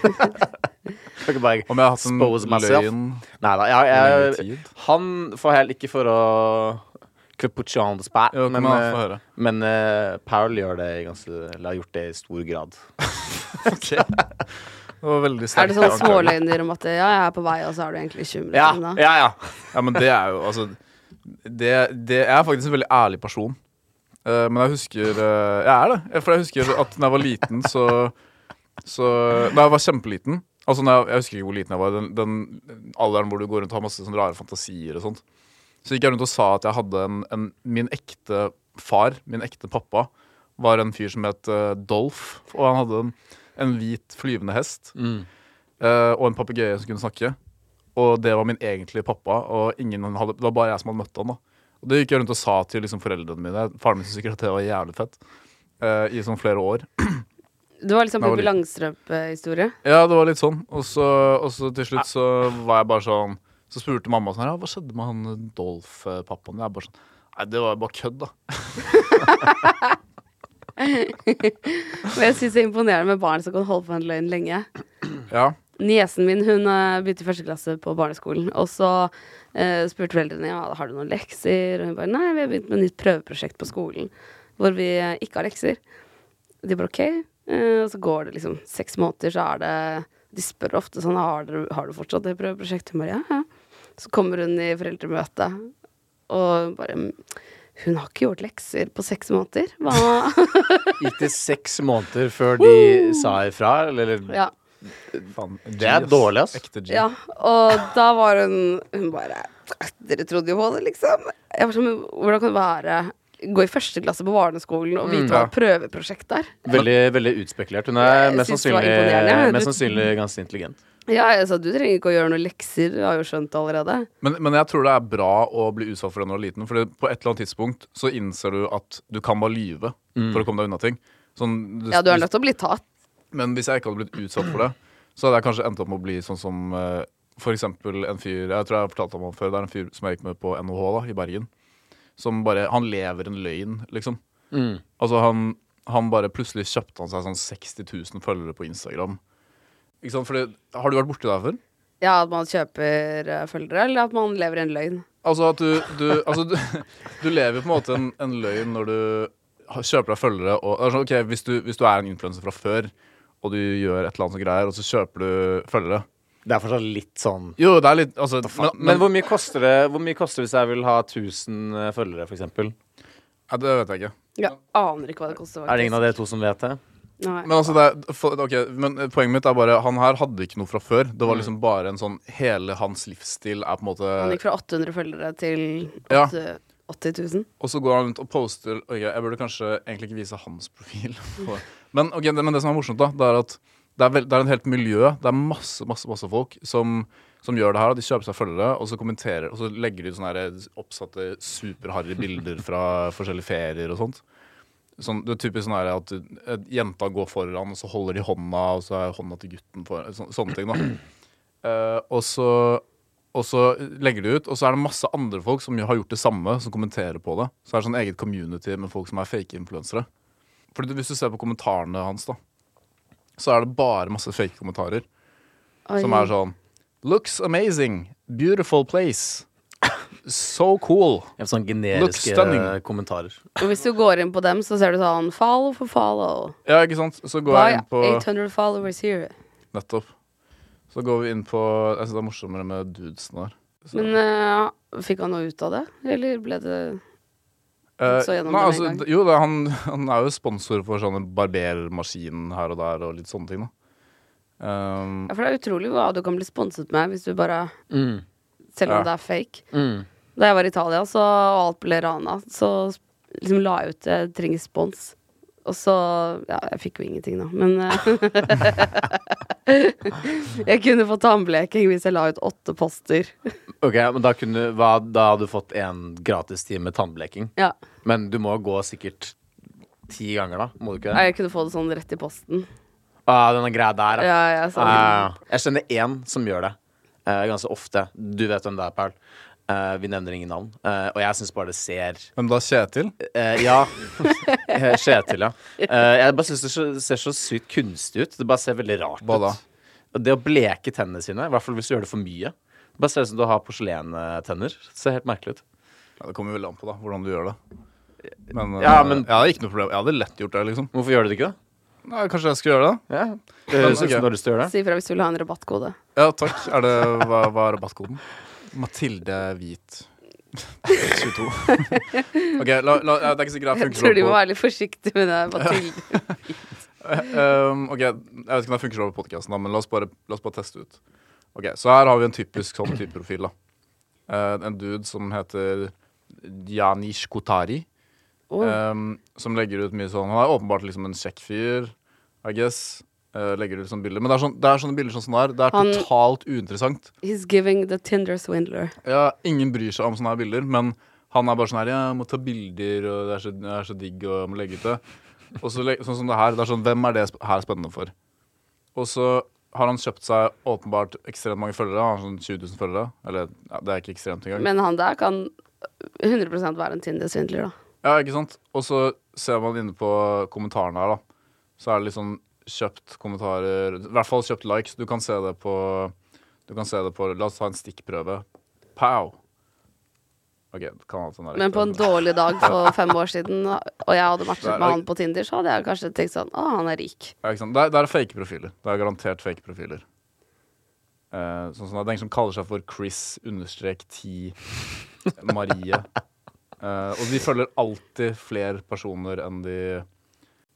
Speaker 4: Jeg kan ikke bare
Speaker 2: Om jeg har hatt en
Speaker 4: expose myself.
Speaker 2: løgn
Speaker 4: Nei da. Jeg,
Speaker 2: Lengre
Speaker 4: jeg,
Speaker 2: tid.
Speaker 4: han får helt ikke for å Could put you on the spot,
Speaker 2: Jo,
Speaker 4: men,
Speaker 2: men han
Speaker 4: eh,
Speaker 2: får høre.
Speaker 4: men eh, Powell gjør det i ganske, eller har gjort det i stor *laughs* grad.
Speaker 2: Det var veldig
Speaker 3: Er
Speaker 2: sterkt.
Speaker 3: det sånn sånne
Speaker 2: anklage.
Speaker 3: småløgner om at ja, jeg er på vei, og så er du egentlig 20
Speaker 4: Ja,
Speaker 3: minutter unna?
Speaker 4: ja, ja.
Speaker 2: Ja, men det er jo Altså det, det, Jeg er faktisk en veldig ærlig person. Eh, men jeg husker eh, Jeg er det. Jeg- For jeg husker at da jeg var liten, så, så Da jeg var kjempeliten Altså, når jeg, jeg husker ikke hvor liten jeg var. Den, den alderen hvor du går rundt og har masse sånne rare fantasier og sånt. Så gikk jeg rundt og sa at jeg hadde en, en Min ekte far, min ekte pappa, var en fyr som het eh, Dolph. Og han hadde en, en hvit flyvende hest. eh, og en papegøye som kunne snakke. Og det var min egentlige pappa, og ingen han hadde, det var bare jeg som hadde møtt han da. Og det gikk jeg rundt og sa til liksom, foreldrene mine. Faren min syntes sikkert at det var jævlig fett. eh, I sånn flere år.
Speaker 3: Det var liksom
Speaker 2: Da var
Speaker 3: Pippi
Speaker 2: det-
Speaker 3: Langstrømpe-historie. *laughs*
Speaker 2: Ja, det var litt sånn. Og så, og så til slutt så var jeg bare sånn Så spurte mamma sånn her, ja, hva skjedde med han Dolf-pappaen? din?» Jeg bare sånn Nei, det var jo bare kødd, da.
Speaker 3: Og jeg syns det er imponerende med barn som kan holde på en løgn lenge.
Speaker 2: Ja.
Speaker 3: Niesen min hun eh, begynte i første klasse på barneskolen, og så eh, spurte foreldrene ja, har du noen lekser. Og hun bare nei, vi har begynt med et nytt prøveprosjekt på skolen hvor vi eh, ikke har lekser. De bare ok. Eh, og så går det liksom seks måneder, så er det De spør ofte sånn har du, har du fortsatt det prøveprosjektet. Hun bare ja, ja. Så kommer hun i foreldremøtet og bare "Mm, Hun har ikke gjort lekser på seks måneder. Hva *laughs*
Speaker 4: Gikk det seks måneder før de sa ifra? Eller, eller
Speaker 3: Ja.
Speaker 2: Faen, G,
Speaker 4: er dårlig, ass.
Speaker 2: Ekte G.
Speaker 3: Ja, og da var hun Hun bare Dere trodde jo på det, liksom. Jeg var sånn, men Hvordan kan det være Gå i første klasse på barneskolen og vite
Speaker 2: Mm,
Speaker 3: hva
Speaker 2: ja.
Speaker 3: et prøveprosjekt er.
Speaker 4: Veldig, veldig utspekulert. Hun er
Speaker 3: Jeg
Speaker 4: mest
Speaker 3: synes det var
Speaker 4: sannsynlig,
Speaker 3: imponerende.
Speaker 4: mest
Speaker 3: Du-
Speaker 4: sannsynlig ganske intelligent.
Speaker 3: Ja, jeg sa du trenger ikke å gjøre noen lekser, du har jo skjønt det allerede.
Speaker 2: Men, men jeg tror det er bra å bli utsatt for det når du er liten. For det, på et eller annet tidspunkt så innser du at du kan bare lyve
Speaker 4: Mm.
Speaker 2: for å komme deg unna ting. Sånn,
Speaker 3: Ja, du er nødt til å bli tatt.
Speaker 2: Men hvis jeg ikke hadde blitt utsatt for det, så hadde jeg kanskje endt opp med å bli sånn som eh, for eksempel en fyr Jeg tror jeg har fortalt om han før. Det er en fyr som jeg gikk med på NHH da, i Bergen. Som bare Han lever en løgn, liksom. Altså, han, han bare plutselig kjøpte han seg sånn 60 000 følgere på Instagram. Ikke sant? Fordi, har du vært borti det her før?
Speaker 3: Ja, at man kjøper eh, følgere, eller at man lever i en løgn.
Speaker 2: Altså at du Du, altså du, *laughs* du lever på en måte en, en løgn når du har- kjøper deg følgere og det er sånn, ok, sånn hvis, du, hvis du er en influenser fra før, og du gjør et eller annet sånt greier, og så kjøper du følgere
Speaker 4: Det er fortsatt litt sånn
Speaker 2: Jo, det er litt altså,
Speaker 4: men,
Speaker 2: men,
Speaker 4: hvor mye koster det Hvor mye koster det hvis jeg vil ha 1000 følgere, f.eks.? Er
Speaker 2: ja, Det vet jeg ikke.
Speaker 3: Jeg aner ikke hva det koster.
Speaker 4: det ingen av dere to som vet det?
Speaker 3: Nei.
Speaker 2: Men, altså, det er, for, ok, men poenget mitt er bare han her hadde ikke noe fra før. Det var liksom bare en sånn Hele hans livsstil er på en måte
Speaker 3: Han gikk fra 800 følgere til
Speaker 2: Ja.
Speaker 3: 8 80 000.
Speaker 2: Og så går han rundt og poster ok, Jeg burde kanskje egentlig ikke vise hans profil. på- men, ok, det, men det som er morsomt, da, det er at det er, vel- det er et helt miljø. Det er masse masse, masse folk som, som gjør det her. og De kjøper seg følgere, og så kommenterer Og så legger de ut sånne her oppsatte superharry bilder fra forskjellige ferier og sånt. Sånn, det er typisk sånn her at du- eh, jenta går foran, og så holder de hånda, og så er hånda til gutten foran. Så, sånne ting, da. Eh, og så og så legger de ut, og så er det masse andre folk som har gjort det samme, som kommenterer på det. Så er det sånn eget community med folk som er fake influensere. Fordi du- Hvis du ser på kommentarene hans, da, så er det bare masse fake kommentarer.
Speaker 3: Oi.
Speaker 2: Som er sånn Looks amazing. Beautiful place. So cool.
Speaker 4: Jeg har sånne
Speaker 2: Looks
Speaker 4: generiske
Speaker 2: stunning.
Speaker 4: eh, kommentarer.
Speaker 3: Og hvis du går inn på dem, så ser du sånn follow for follow.
Speaker 2: Ja, ikke sant? Så går jeg
Speaker 3: By
Speaker 2: inn på
Speaker 3: 800 followers here.
Speaker 2: Nettopp. Så går vi inn på Jeg syns det er morsommere med dudesen her.
Speaker 3: Men eh, fikk han noe ut av det, eller ble det
Speaker 2: Eh,
Speaker 3: Så gjennom
Speaker 2: nei,
Speaker 3: den en
Speaker 2: altså,
Speaker 3: gang.
Speaker 2: d- Jo, det, er han, han er jo sponsor for sånne barbermaskinen her og der og litt sånne ting, da. Ehm,
Speaker 3: Ja, for det er utrolig hva du kan bli sponset med hvis du bare
Speaker 4: Mm.
Speaker 3: Selv
Speaker 2: Ja.
Speaker 3: om det er fake.
Speaker 4: Mm.
Speaker 3: Da jeg var i Italia, så, og alt ble rana, så sp- liksom la jeg ut eh, 'trenger spons'. Og så Ja, jeg fikk jo ingenting, da, men eh, *laughs* Jeg kunne fått tannbleking hvis jeg la ut åtte poster.
Speaker 4: Ok, men da, kunne, hva, da hadde du fått en gratis time tannbleking.
Speaker 3: Ja.
Speaker 4: Men du må gå sikkert ti ganger, da. Må du ikke det?
Speaker 3: Jeg kunne få det sånn rett i posten.
Speaker 4: Ah, denne greia der, ja.
Speaker 3: Ja, ja, sånn.
Speaker 4: Ah, jeg kjenner én som gjør det. eh, ganske ofte. Du vet hvem det er, Paul. Eh, vi nevner ingen navn. Eh, og jeg syns bare det ser
Speaker 2: men da Kjetil
Speaker 4: eh, Ja. *laughs* Eh, Kjetil, ja. Eh, jeg bare syns det så- ser så sykt kunstig ut. Det bare ser veldig rart
Speaker 2: Hva da?
Speaker 4: ut. Og Det å bleke tennene sine, i hvert fall hvis du gjør det for mye. Det bare ser ut som du har porselentenner. Det Ser helt merkelig ut.
Speaker 2: ja, Det kommer veldig an på da, hvordan du gjør det. Men, eh,
Speaker 4: Ja, men-
Speaker 2: jeg hadde ikke noe problem. Jeg hadde lett gjort det, liksom.
Speaker 4: Hvorfor gjør du det ikke, da?
Speaker 2: Nei, kanskje jeg skal gjøre det?
Speaker 4: Ja. Det høres ut
Speaker 2: ok.
Speaker 4: som du har lyst til å gjøre det.
Speaker 3: Si ifra hvis du vil ha en rabattkode.
Speaker 2: Ja, takk. Er det, hva, hva er rabattkoden? Mathilde *laughs* Hvit. 22. *laughs* ok, la, la, ja, det er ikke sikkert det
Speaker 3: Jeg
Speaker 2: funker
Speaker 3: tror
Speaker 2: over
Speaker 3: de må
Speaker 2: på
Speaker 3: være litt forsiktige med det.
Speaker 4: *laughs*
Speaker 3: Mathilde.
Speaker 2: Ehm, ok, Jeg vet ikke om det funker over podkasten, men la oss, bare, la oss bare teste ut. Ok, Så her har vi en typisk sånn type profil. da Eh, En dude som heter Janish Kotari.
Speaker 3: Å,
Speaker 4: Eh,
Speaker 2: ehm, som legger ut mye sånn Han er åpenbart liksom en kjekk fyr, I guess. Eh, legger ut sånne bilder. Men det er, sånn, det er sånne bilder sånn som det er. Det er
Speaker 3: Han-
Speaker 2: totalt uinteressant.
Speaker 3: He's giving the Tinder swindler.
Speaker 2: Ja, ingen bryr seg om sånne her bilder, men han er bare sånn her Ja, jeg må ta bilder, og det er så, det er så digg, og jeg må legge ut det. Og så, leg- sånn som det her, det er sånn Hvem er det sp- her spennende for? Og så har han kjøpt seg åpenbart ekstremt mange følgere. Han har sånn 20 000 følgere. Eller ja, det er ikke ekstremt engang.
Speaker 3: Men han der kan 100 være en Tinder-svindler, da.
Speaker 2: Ja, ikke sant? Og så ser man inne på kommentarene her, da. Så er det liksom kjøpt kommentarer I hvert fall kjøpt likes. Du kan se det på Du kan se det på La oss ta en stikkprøve. Pow! OK, det kan sånn hende at den er
Speaker 3: Men på en
Speaker 2: men-
Speaker 3: dårlig dag for fem år siden, og jeg hadde matchet med han på Tinder, så hadde jeg kanskje tenkt sånn Å, han er rik.
Speaker 2: Ja, ikke sant? Det, er, det er fake profiler. Det er garantert fake profiler. Eh, sånn som det er en som kaller seg for Chris understrek 10 Marie. Eh, og de følger alltid flere personer enn de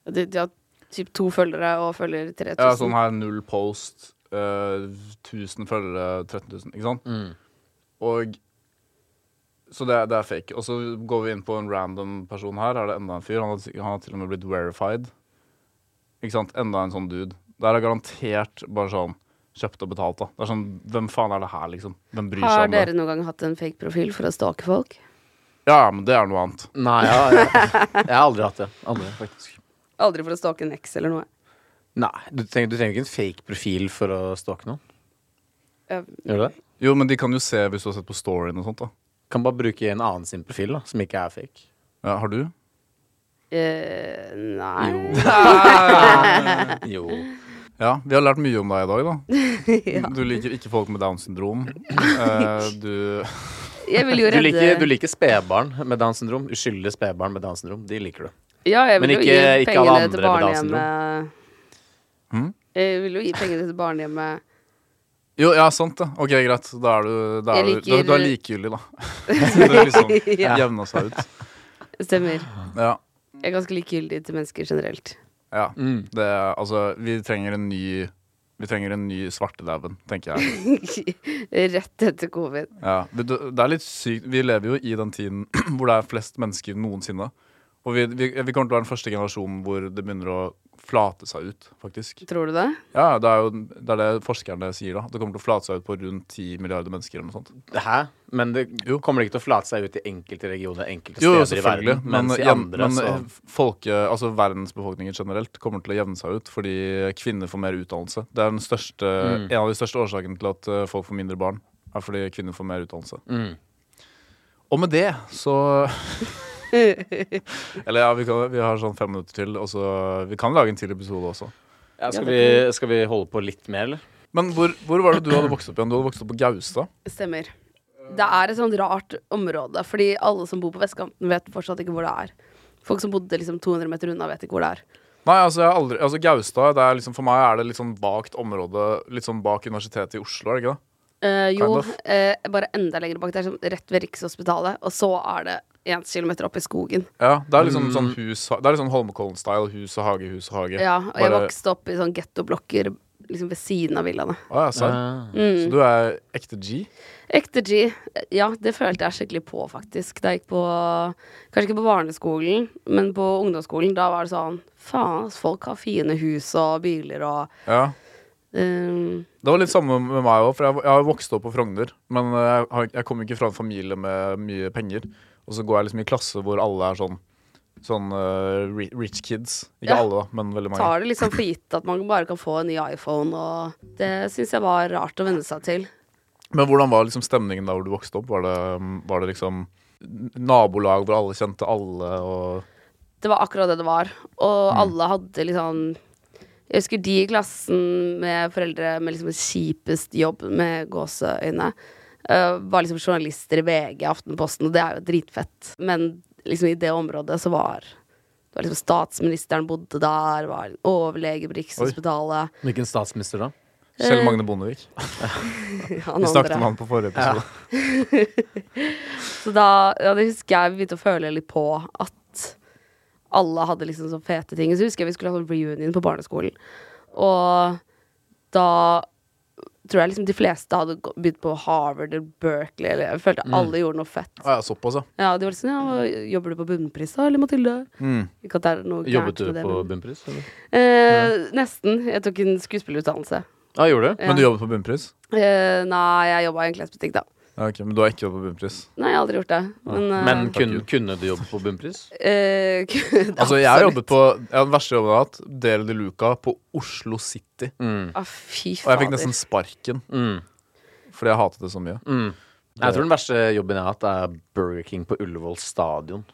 Speaker 3: De, de har typ to følgere og følger 3000.
Speaker 2: Ja, sånn her null post, eh, 1000 følgere, 13 000, ikke sant?
Speaker 4: Mm.
Speaker 2: Og Så det, er- det er fake. Og så går vi inn på en random person her. Er det enda en fyr? Han har, t- han har til og med blitt verified. Ikke sant? Enda en sånn dude. Der er garantert bare sånn kjøpt og betalt, da. Det er sånn Hvem faen er det her, liksom? Hvem bryr seg
Speaker 3: Har
Speaker 2: om
Speaker 3: dere
Speaker 2: det?
Speaker 3: noen gang hatt en fake profil for å stalke folk?
Speaker 2: Ja, men det er noe annet.
Speaker 4: Nei, ja, ja. jeg har aldri hatt det. Aldri, faktisk.
Speaker 3: Aldri for å stalke en eks eller noe.
Speaker 4: Nei, du trenger, du trenger ikke en fake profil for å stalke noen.
Speaker 3: Jeg-
Speaker 4: Gjør du det?
Speaker 2: Jo, men de kan jo se hvis du har sett på storyen og sånt, da.
Speaker 4: Kan bare bruke en annen sin profil, da, som ikke er fake.
Speaker 2: Ja, har du?
Speaker 3: eh, nei.
Speaker 4: *laughs* Jo.
Speaker 2: Ja, vi har lært mye om deg i dag, da. Du liker ikke folk med Downs syndrom. Eh, du
Speaker 3: Jeg vil jo
Speaker 4: Du
Speaker 3: redde
Speaker 4: liker, du liker spedbarn med Downs syndrom. Uskyldige spedbarn med Downs syndrom. De liker du.
Speaker 3: Ja, jeg vil
Speaker 4: Men
Speaker 3: jo
Speaker 4: ikke-
Speaker 3: gi
Speaker 4: ikke alle
Speaker 3: pengene til
Speaker 4: andre med Downs
Speaker 3: barnehjemmet.
Speaker 2: syndrom. Hm?
Speaker 3: Jeg vil jo gi pengene til barnehjemmet.
Speaker 2: Jo, ja, sant det. Ok, greit. Da er du, da er
Speaker 3: Jeg
Speaker 2: du, du,
Speaker 3: liker-
Speaker 2: du er likegyldig, da. *laughs* det er liksom
Speaker 3: *laughs* Ja.
Speaker 2: jevna seg ut.
Speaker 3: Stemmer.
Speaker 2: Ja.
Speaker 3: Jeg er ganske likegyldig til mennesker generelt. *laughs*
Speaker 2: ja. Det, er- altså, vi trenger en ny Vi trenger en ny svartedauden, tenker jeg.
Speaker 3: Rett etter covid.
Speaker 2: Ja, men det det er litt sykt Vi lever jo i den tiden *clears throat* hvor det er flest mennesker noensinne. Og vi, vi, vi kommer til å være den første generasjonen hvor det begynner å flate seg ut, faktisk.
Speaker 3: Tror du det?
Speaker 2: Ja, Det er jo det, er det forskerne sier, da. Det kommer til å flate seg ut på rundt 10 milliarder mennesker eller noe sånt.
Speaker 4: Hæ? Men det kommer ikke til å flate seg ut i enkelte regioner enkelte
Speaker 2: Jo, jo,
Speaker 4: steder i
Speaker 2: selvfølgelig.
Speaker 4: verden.
Speaker 2: Men,
Speaker 4: Mens i
Speaker 2: igjen,
Speaker 4: andre
Speaker 2: men
Speaker 4: så
Speaker 2: eh, folke, altså verdensbefolkningen generelt kommer til å jevne seg ut fordi kvinner får mer utdannelse. Det er den største,
Speaker 4: Mm.
Speaker 2: en av de største årsakene til at eh, folk får mindre barn. er fordi kvinner får mer utdannelse.
Speaker 4: Mm.
Speaker 2: Og med det så
Speaker 4: *laughs*
Speaker 2: Eller ja, vi, kan, vi har sånn fem minutter til, og så Vi kan lage en til episode også.
Speaker 4: ja, skal, vi, skal vi holde på litt mer, eller?
Speaker 2: Men hvor, hvor var det du hadde vokst opp igjen? Du hadde vokst opp på Gaustad?
Speaker 3: Stemmer. Det er et sånt rart område, fordi alle som bor på vestkanten, vet fortsatt ikke hvor det er. Folk som bodde liksom 200 meter unna, vet ikke hvor det er.
Speaker 2: Nei, altså, jeg har aldri, altså Gaustad det er liksom, For meg er det litt sånn vagt område, litt sånn bak Universitetet i Oslo, er det ikke det?
Speaker 3: Eh, jo,
Speaker 2: Kind of.
Speaker 3: eh, bare enda lenger bak. Det er sånn rett ved Rikshospitalet, og så er det én kilometer opp i skogen.
Speaker 2: Ja, det er liksom sånn hus Det er litt sånn Holmenkollen-style. Hus og hage, hus og hage.
Speaker 3: Ja, og jeg
Speaker 2: Bare-
Speaker 3: vokste opp i sånn gettoblokker liksom ved siden av villaene.
Speaker 2: Å, ja, sant.
Speaker 3: Mm.
Speaker 2: Så du er ekte G?
Speaker 3: Ekte G. Ja, det følte jeg skikkelig på, faktisk. Da jeg gikk på Kanskje ikke på barneskolen, men på ungdomsskolen. Da var det sånn Faen, ass, folk har fine hus og biler og
Speaker 2: Ja.
Speaker 3: ehm,
Speaker 2: Det var litt samme med meg òg, for jeg, jeg har vokst opp på Frogner. Men eh, jeg, har- jeg kommer ikke fra en familie med mye penger. Og så går jeg liksom i klasse hvor alle er sånn Sånn eh, ri- rich kids. Ikke
Speaker 3: Ja.
Speaker 2: alle, da, men veldig mange.
Speaker 3: tar det liksom for gitt at man bare kan få en ny iPhone, og det syns jeg var rart å venne seg til.
Speaker 2: Men hvordan var liksom stemningen der hvor du vokste opp? Var det, var det liksom nabolag hvor alle kjente alle og
Speaker 3: Det var akkurat det det var. Og
Speaker 2: Mm.
Speaker 3: alle hadde liksom Jeg husker de i klassen med foreldre med liksom kjipest jobb, med gåseøyne, eh, var liksom journalister i VG, Aftenposten, og det er jo dritfett. Men liksom i det området så var det var liksom Statsministeren bodde der, var overlege på Rikshospitalet
Speaker 4: Hvilken statsminister da?
Speaker 2: Kjell Magne Bondevik?
Speaker 3: Eh, han
Speaker 2: Vi snakket om
Speaker 3: andre.
Speaker 2: han på forrige episode.
Speaker 3: Så da ja, det husker jeg vi begynte å føle litt på at alle hadde liksom så fete ting. Så husker jeg vi skulle ha sånn reunion på barneskolen. Og da tror jeg liksom de fleste hadde gå- begynt på Harvard eller Berkeley. Eller jeg
Speaker 4: Mm.
Speaker 3: følte alle gjorde noe fett.
Speaker 2: Ja, ja, såpass, ja.
Speaker 3: Ja, de var litt sånn, ja, hva- Jobber du på Bunnpris da, eller Mathilde?
Speaker 2: Mm.
Speaker 3: Ikke at det er noe gærent
Speaker 4: Jobbet du
Speaker 3: med det,
Speaker 4: på
Speaker 3: men-
Speaker 4: bunnpris? eller?
Speaker 3: Eh, Nesten. Jeg tok en skuespillerutdannelse.
Speaker 4: Ja, gjorde du?
Speaker 2: Men du jobbet på Bunnpris?
Speaker 3: Eh, nei, jeg jobba i en klesbutikk, da.
Speaker 2: Ja, ok, Men du har ikke jobbet på Bunnpris?
Speaker 3: Nei, jeg har aldri gjort det. Men, eh,
Speaker 4: Men
Speaker 2: Takk,
Speaker 4: kunne,
Speaker 2: jo.
Speaker 4: kunne du jobbe på bunnpris?
Speaker 3: *laughs* eh,
Speaker 2: Altså, jeg har jobbet på ja, Den verste jobben jeg har hatt, Dere de Luca på Oslo City.
Speaker 4: Mm.
Speaker 3: ah, Fy
Speaker 2: Og jeg fikk
Speaker 3: fader.
Speaker 2: nesten sparken
Speaker 4: Mm.
Speaker 2: fordi jeg hatet det så mye.
Speaker 4: Mm. Jeg tror den verste jobben jeg har hatt, er Burger King på Ullevål stadion.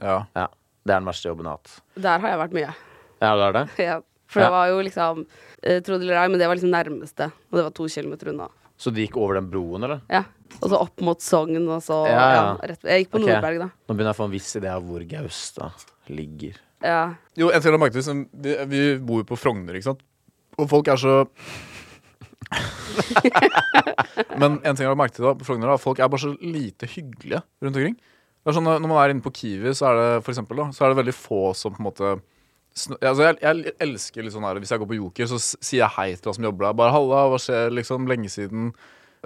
Speaker 2: Ja.
Speaker 4: Ja, Det er den verste jobben jeg har hatt.
Speaker 3: Der har jeg vært mye. *laughs*
Speaker 4: Ja, det er det?
Speaker 3: Ja, for
Speaker 4: Ja.
Speaker 3: det var jo liksom eh, Tro det eller ei, men det var liksom nærmeste. Og det var to kilometer unna.
Speaker 4: Så de gikk over den broen, eller?
Speaker 3: Ja. Og så opp mot Sogn, og så ja,
Speaker 4: Ja, ja.
Speaker 3: rett, Jeg gikk på
Speaker 4: Ok.
Speaker 3: Nordberg, da.
Speaker 4: Nå begynner jeg å få en viss idé av hvor Gaustad ligger.
Speaker 3: Ja.
Speaker 2: Jo, jeg tror jeg merket det, som- vi, vi bor jo på Frogner, ikke sant? Og folk er så *laughs* Men en ting jeg har merket da, på Frogner, er at folk er bare så lite hyggelige rundt omkring. Det er sånn, Når man er inne på Kiwi, så er det for eksempel, da, så er det veldig få som på en måte sn- Altså, jeg, jeg elsker litt sånn her Hvis jeg går på Joker, så s- sier jeg hei til han som jobber der. Bare 'halla, hva skjer', liksom. Lenge siden.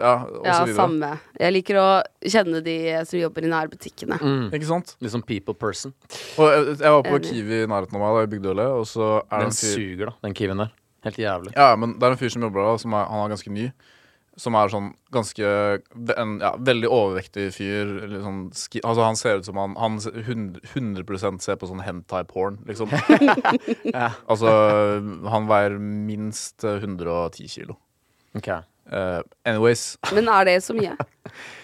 Speaker 2: Ja, og
Speaker 3: ja
Speaker 2: så videre.
Speaker 3: samme. Jeg liker å kjenne de som jobber i nærbutikkene.
Speaker 2: Ikke sant?
Speaker 4: Litt sånn people person.
Speaker 2: Og jeg, jeg var på
Speaker 3: Enig.
Speaker 2: Kiwi i nærheten av meg da i Bygdøle, og så er det
Speaker 4: Den
Speaker 2: en fyr
Speaker 4: suger, da, den kiwien der. Helt jævlig.
Speaker 2: Ja, men det er en fyr som jobber der, som er, han er ganske ny. Som er sånn ganske ve- En ja, veldig overvektig fyr. eller Sånn, ski, altså Han ser ut som han, han se- hund- 100 ser på sånn hentai-porn, liksom.
Speaker 4: *laughs*
Speaker 2: Altså, han veier minst eh, 110 kilo.
Speaker 4: Ok.
Speaker 2: Eh, anyways
Speaker 3: Men er det så
Speaker 2: *laughs*
Speaker 3: mye?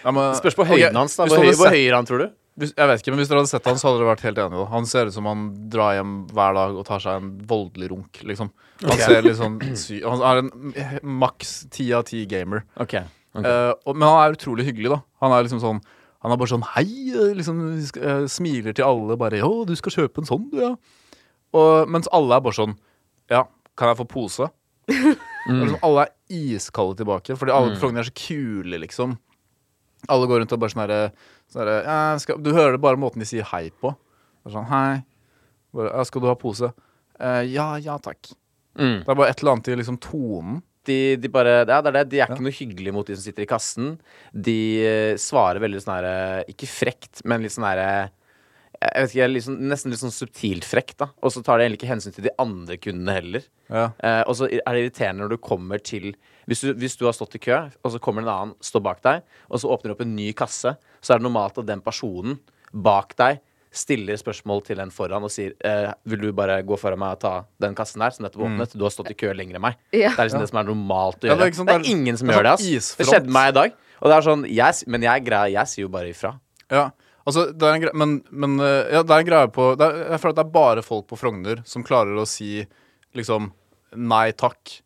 Speaker 2: ja, men,
Speaker 4: Spørs på
Speaker 2: ok,
Speaker 4: høyden hans, da.
Speaker 2: hvis du
Speaker 4: Hvor høy,
Speaker 2: hadde
Speaker 4: hvor
Speaker 2: sett-
Speaker 4: høy er han, tror du?
Speaker 2: hvis, jeg vet ikke, men hvis dere hadde sett han, så hadde dere vært helt enige. da. Han ser ut som han drar hjem hver dag og tar seg en voldelig runk, liksom. Han ser litt sånn sy Han er en eh, maks ti av ti gamer.
Speaker 4: Ok. ok.
Speaker 2: Eh, og, men han er utrolig hyggelig, da. Han er liksom sånn Han er bare sånn hei, eh, liksom sk- eh, smiler til alle bare 'Å, du skal kjøpe en sånn, du, ja'. Og, mens alle er bare sånn Ja, kan jeg få pose? Og liksom, alle er iskalde tilbake, fordi alle på Frogner er så kule, liksom. Alle går rundt og bare sånn herre sånn herre, ja, skal- Du hører det bare måten de sier hei på. Det er sånn hei. Bare, ja, skal du ha pose? «Eh, ja, ja takk.
Speaker 4: Mm.
Speaker 2: Det er bare et eller annet i liksom tonen.
Speaker 4: De, de bare, ja, det er det. De er ikke noe hyggelige mot de som sitter i kassen. De eh, svarer veldig sånn herre Ikke frekt, men litt sånn herre jeg vet ikke, litt sånn- Nesten litt sånn subtilt frekt, da. Og så tar de egentlig ikke hensyn til de andre kundene heller.
Speaker 2: Ja.
Speaker 4: Eh, og så er det irriterende når du kommer til hvis du, hvis du har stått i kø, og så kommer en annen, står bak deg, og så åpner du opp en ny kasse, så er det normalt at den personen bak deg stiller spørsmål til den foran og sier eh, Vil du bare gå foran meg og ta den kassen der som nettopp åpnet? Du har stått i kø lenger enn meg.
Speaker 3: Ja.
Speaker 4: Det er liksom det som er normalt å
Speaker 2: Mm. Ja, det
Speaker 4: gjøre.
Speaker 2: er
Speaker 4: det,
Speaker 2: ikke sant,
Speaker 4: er
Speaker 2: det er-
Speaker 4: ingen som
Speaker 2: det er
Speaker 4: gjør det.
Speaker 2: sånn
Speaker 4: ass. Det
Speaker 2: isfront.
Speaker 4: skjedde meg i dag. Og det er sånn, jeg, s- Men jeg, er grei, jeg sier jo bare ifra.
Speaker 2: Ja, altså det er en greie Men, men eh, ja, det er en greie på det er, Jeg føler at det er bare folk på Frogner som klarer å si liksom nei takk,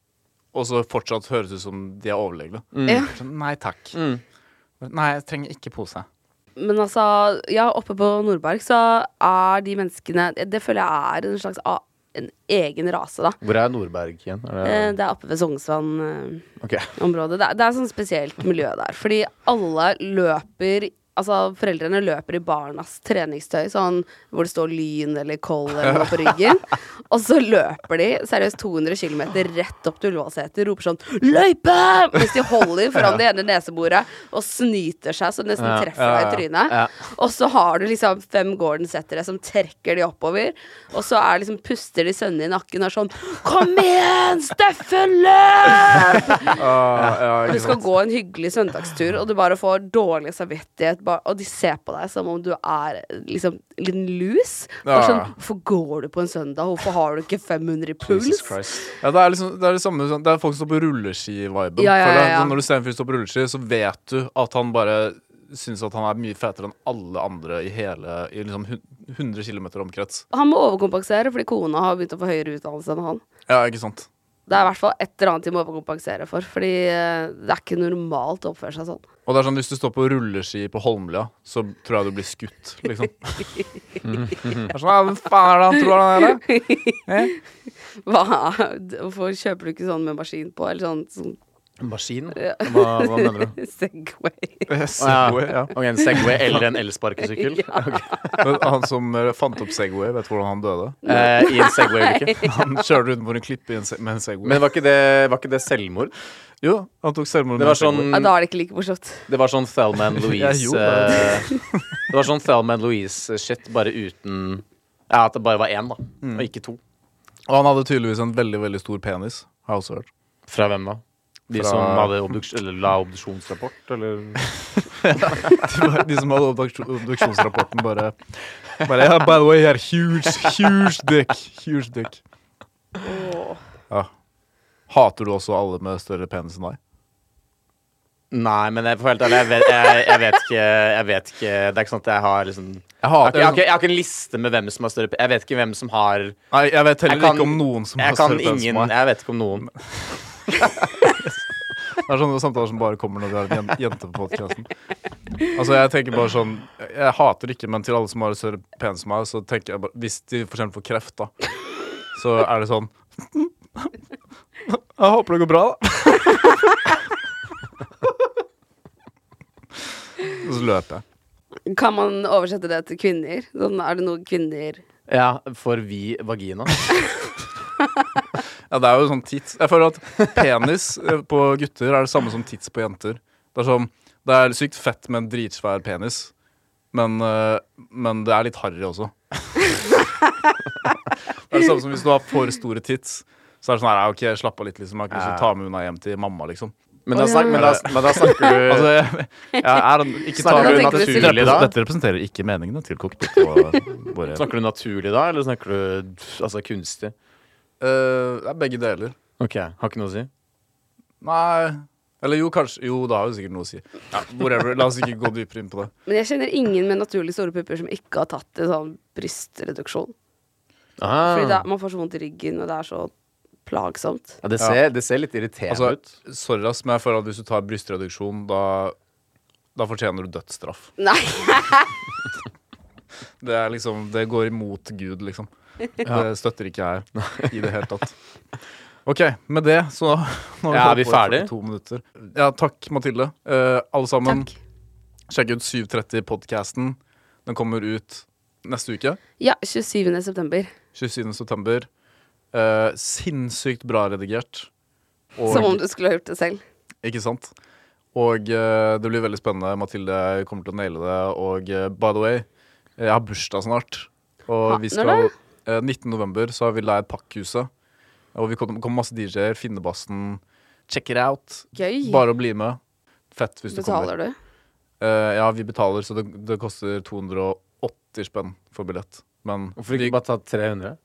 Speaker 2: og så fortsatt høres ut som de er overlegne.
Speaker 3: Ja.
Speaker 2: Sånn, Nei takk.
Speaker 3: Mm.
Speaker 2: Nei, jeg trenger ikke pose.
Speaker 3: Men altså, ja, oppe på Nordberg så er de menneskene Det føler jeg er en slags a- en egen rase, da.
Speaker 4: Hvor er Nordberg igjen?
Speaker 3: Eh,
Speaker 4: Er det,
Speaker 3: Det er oppe ved eh, Sognsvann-området.
Speaker 4: Ok.
Speaker 3: Det, er- det er sånn spesielt miljø der. Fordi alle løper Altså, foreldrene løper i barnas treningstøy, sånn hvor det står lyn eller koll eller noe på
Speaker 4: *laughs*
Speaker 3: ryggen. Og så løper de seriøst 200 km rett opp til Ullevålseter, roper sånn 'løype!' mens de holder foran det ene neseboret og snyter seg så det nesten
Speaker 4: Ja,
Speaker 3: treffer deg i
Speaker 4: ja, ja.
Speaker 3: trynet.
Speaker 4: Ja.
Speaker 3: Og så har du liksom fem Gordon-settere som trekker de oppover. Og så er liksom puster de sønne i nakken og er sånn Kom igjen, Steffen, løp!
Speaker 2: ja,
Speaker 3: Du skal gå en hyggelig søndagstur, og du bare får dårlig samvittighet. ba- Og de ser på deg som om du er liksom en liten lus. Bare
Speaker 2: Ja.
Speaker 3: sånn, Hvorfor går du på en søndag? Hvorfor har du ikke 500 i
Speaker 4: Jesus
Speaker 3: puls?
Speaker 4: Christ.
Speaker 2: Ja, det, er liksom, det er det samme sånn, Det er folk som står på rulleski-viben.
Speaker 3: Ja, ja,
Speaker 2: føler jeg.
Speaker 3: ja, ja.
Speaker 2: Sånn, Når du ser en fyr stå på rulleski, så vet du at han bare syns at han er mye fetere enn alle andre i hele I liksom hun- 100 km omkrets.
Speaker 3: Han må overkompensere fordi kona har begynt å få høyere utdannelse enn han.
Speaker 2: Ja, ikke sant?
Speaker 3: Det er i hvert fall et eller annet de må overkompensere for, fordi eh, det er ikke normalt å oppføre seg sånn.
Speaker 2: Og det er sånn, Hvis du står på rulleski på Holmlia, så tror jeg du blir skutt, liksom. Det er sånn, ja, Hvem faen er det han tror han er? da?
Speaker 3: Hva, *laughs* hvorfor kjøper du ikke sånn med maskin på, eller sånn, sånn
Speaker 4: Maskin? Hva, hva mener du?
Speaker 3: Segway?
Speaker 2: Eh,
Speaker 4: Segway,
Speaker 2: Segway, *laughs* ja.
Speaker 4: en Segway eller
Speaker 3: *laughs*
Speaker 4: en elsparkesykkel?
Speaker 2: Men Han som eh, fant opp Segway, vet du hvordan han døde?
Speaker 4: Eh, I en Segway-ulykke.
Speaker 2: Han kjørte rundt på en klippe i en se- med en Segway.
Speaker 4: Men var ikke, det, var ikke det selvmord?
Speaker 2: jo, han tok selvmord med
Speaker 4: Det var
Speaker 2: en Segway.
Speaker 4: sånn,
Speaker 3: Ja, da er det ikke like morsomt.
Speaker 4: det var sånn Thelma *laughs* and
Speaker 2: Jeg
Speaker 4: Louise
Speaker 2: gjorde
Speaker 4: eh, Det var sånn Thelma and Louise-shit, bare uten Ja, at det bare var én, da. Og ikke to.
Speaker 2: Og han hadde tydeligvis en veldig veldig stor penis, har jeg også
Speaker 4: *laughs*
Speaker 2: hørt.
Speaker 4: Fra hvem da? De
Speaker 2: Fra-
Speaker 4: som hadde obduks eller la obduksjonsrapport, eller
Speaker 2: De, var- de som hadde obduksjon- obduksjonsrapporten, bare, bare yeah, By the way, here, huge, huge dick. Huge dick.
Speaker 3: Åh.
Speaker 2: Ja. Hater du også alle med større penis enn deg?
Speaker 4: Nei, men jeg, for helt ærlig, jeg, vet, jeg, jeg vet ikke Jeg vet ikke Det er ikke sånn at jeg har liksom Jeg
Speaker 2: Jeg
Speaker 4: har
Speaker 2: hater
Speaker 4: ikke, jeg har ikke, jeg har ikke en liste med hvem som har større pe- Jeg vet ikke hvem som har
Speaker 2: Nei, jeg vet heller
Speaker 4: Jeg kan-
Speaker 2: ikke om noen som har
Speaker 4: Jeg kan
Speaker 2: større penis
Speaker 4: ingen
Speaker 2: enn meg.
Speaker 4: Jeg vet ikke om noen.
Speaker 2: Det er sånne samtaler som bare kommer når du er en jen- jente på podcasten Altså, jeg tenker bare sånn Jeg hater ikke, men til alle som har større penis enn meg, så tenker jeg bare Hvis de for eksempel får kreft, da, så er det sånn *laughs* Jeg håper det går bra, da. *laughs* Og så løper jeg.
Speaker 3: Kan man oversette det til kvinner? Sånn, er det noe kvinner
Speaker 4: Ja, for vi vagina.
Speaker 2: Ja, det er jo sånn tits. Jeg føler at penis eh, på gutter er det samme som tits på jenter. Det er sånn, det er sykt fett med en dritsvær penis, men, eh, men det er litt harry også. det er det samme som hvis du har for store tits. Så er det sånn her, ja, ok, slapp av litt, liksom. Jeg har ikke lyst til å ta med unna hjem til mamma, liksom.
Speaker 4: Men da,
Speaker 3: Å, ja.
Speaker 4: snak, men da, men da snakker du
Speaker 2: Altså, jeg, jeg er en, ikke ta
Speaker 4: Snakker
Speaker 3: du
Speaker 2: med
Speaker 3: naturlig
Speaker 4: da?
Speaker 2: Dette representerer ikke meningene til Cockpit og våre
Speaker 4: Snakker du naturlig da, eller snakker du pff, altså, kunstig?
Speaker 2: *laughs* Eh, Det er begge deler.
Speaker 4: Ok, Har ikke noe å si?
Speaker 2: Nei Eller jo, kanskje Jo, det har jo sikkert noe å si. Ja, whatever. La oss ikke gå dypere inn
Speaker 4: *laughs*
Speaker 2: på det.
Speaker 3: Men jeg kjenner ingen med naturlig store pupper som ikke har tatt en sånn brystreduksjon. Fordi det
Speaker 4: Ah.
Speaker 3: er, man får så vondt i ryggen, og det er så plagsomt. *laughs*
Speaker 4: Ja, det, ser, det ser litt irriterende
Speaker 2: Altså,
Speaker 4: ut.
Speaker 2: sorry, ass, men jeg føler at hvis du tar brystreduksjon, da, da fortjener du dødsstraff.
Speaker 3: Nei!
Speaker 2: Det er
Speaker 4: *laughs*
Speaker 2: liksom Det går imot Gud, liksom. Det støtter ikke jeg i det hele tatt. Ok, med det så nå har
Speaker 4: Ja, er vi
Speaker 2: holdt på i
Speaker 4: ferdig?
Speaker 2: 42 minutter. Ja, takk, Mathilde. Eh, alle sammen,
Speaker 3: Takk.
Speaker 2: sjekk ut 730-podkasten. Den kommer ut neste uke.
Speaker 3: Ja, 27. september.
Speaker 2: 27. september. Eh, sinnssykt bra redigert. Og,
Speaker 3: Som om du skulle ha gjort det selv.
Speaker 2: Ikke sant? Og eh, det blir veldig spennende. Mathilde kommer til å naile det. Og eh, by the way, jeg har bursdag snart. Og
Speaker 3: Ha,
Speaker 2: vi
Speaker 3: når
Speaker 2: skal eh, 19. november så har vi leid Pakkhuset. Og vi kommer kommer masse DJ-er. Finnebassen. Check it out.
Speaker 3: Gøy.
Speaker 2: Bare å bli med. Fett hvis du kommer.
Speaker 3: Betaler du?
Speaker 2: Eh, ja, vi betaler, så det, det koster 280 spenn for billett. Men
Speaker 4: Hvorfor
Speaker 2: vi-
Speaker 4: ikke bare ta 300?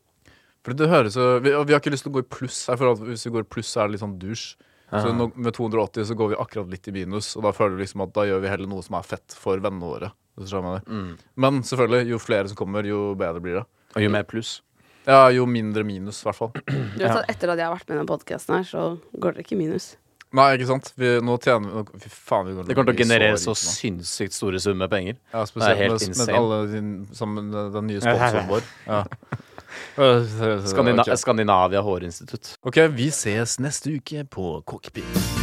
Speaker 2: fordi det høres jo vi, og vi har ikke lyst til å gå i pluss. her, For at hvis vi går i pluss, så er det litt sånn dusj. Så
Speaker 4: Aha.
Speaker 2: nå, med 280 så går vi akkurat litt i minus, og da føler vi liksom at da gjør vi heller noe som er fett for vennene våre. Hvis du skjønner hva jeg mener.
Speaker 4: Mm.
Speaker 2: Men selvfølgelig, jo flere som kommer, jo bedre blir det.
Speaker 4: Og jo mer pluss.
Speaker 2: Ja, jo mindre minus, i hvert fall.
Speaker 3: Du vet at Etter at jeg har vært med i den podkasten her, så går dere ikke i minus.
Speaker 2: Nei, ikke sant? Vi, nå tjener vi nå- Fy faen, vi går
Speaker 4: Det kommer til å
Speaker 2: bli
Speaker 4: generere
Speaker 2: rike
Speaker 4: så
Speaker 2: nå.
Speaker 4: sinnssykt store summer penger.
Speaker 2: Ja,
Speaker 4: Det er
Speaker 2: spesielt
Speaker 4: helt
Speaker 2: med, med
Speaker 4: insane.
Speaker 2: alle din, sammen med den nye sponsoren vår. Ja.
Speaker 4: Skandina
Speaker 2: Ok.
Speaker 4: Skandinavia Hårinstitutt.
Speaker 2: ok, vi ses neste uke på Cockpit.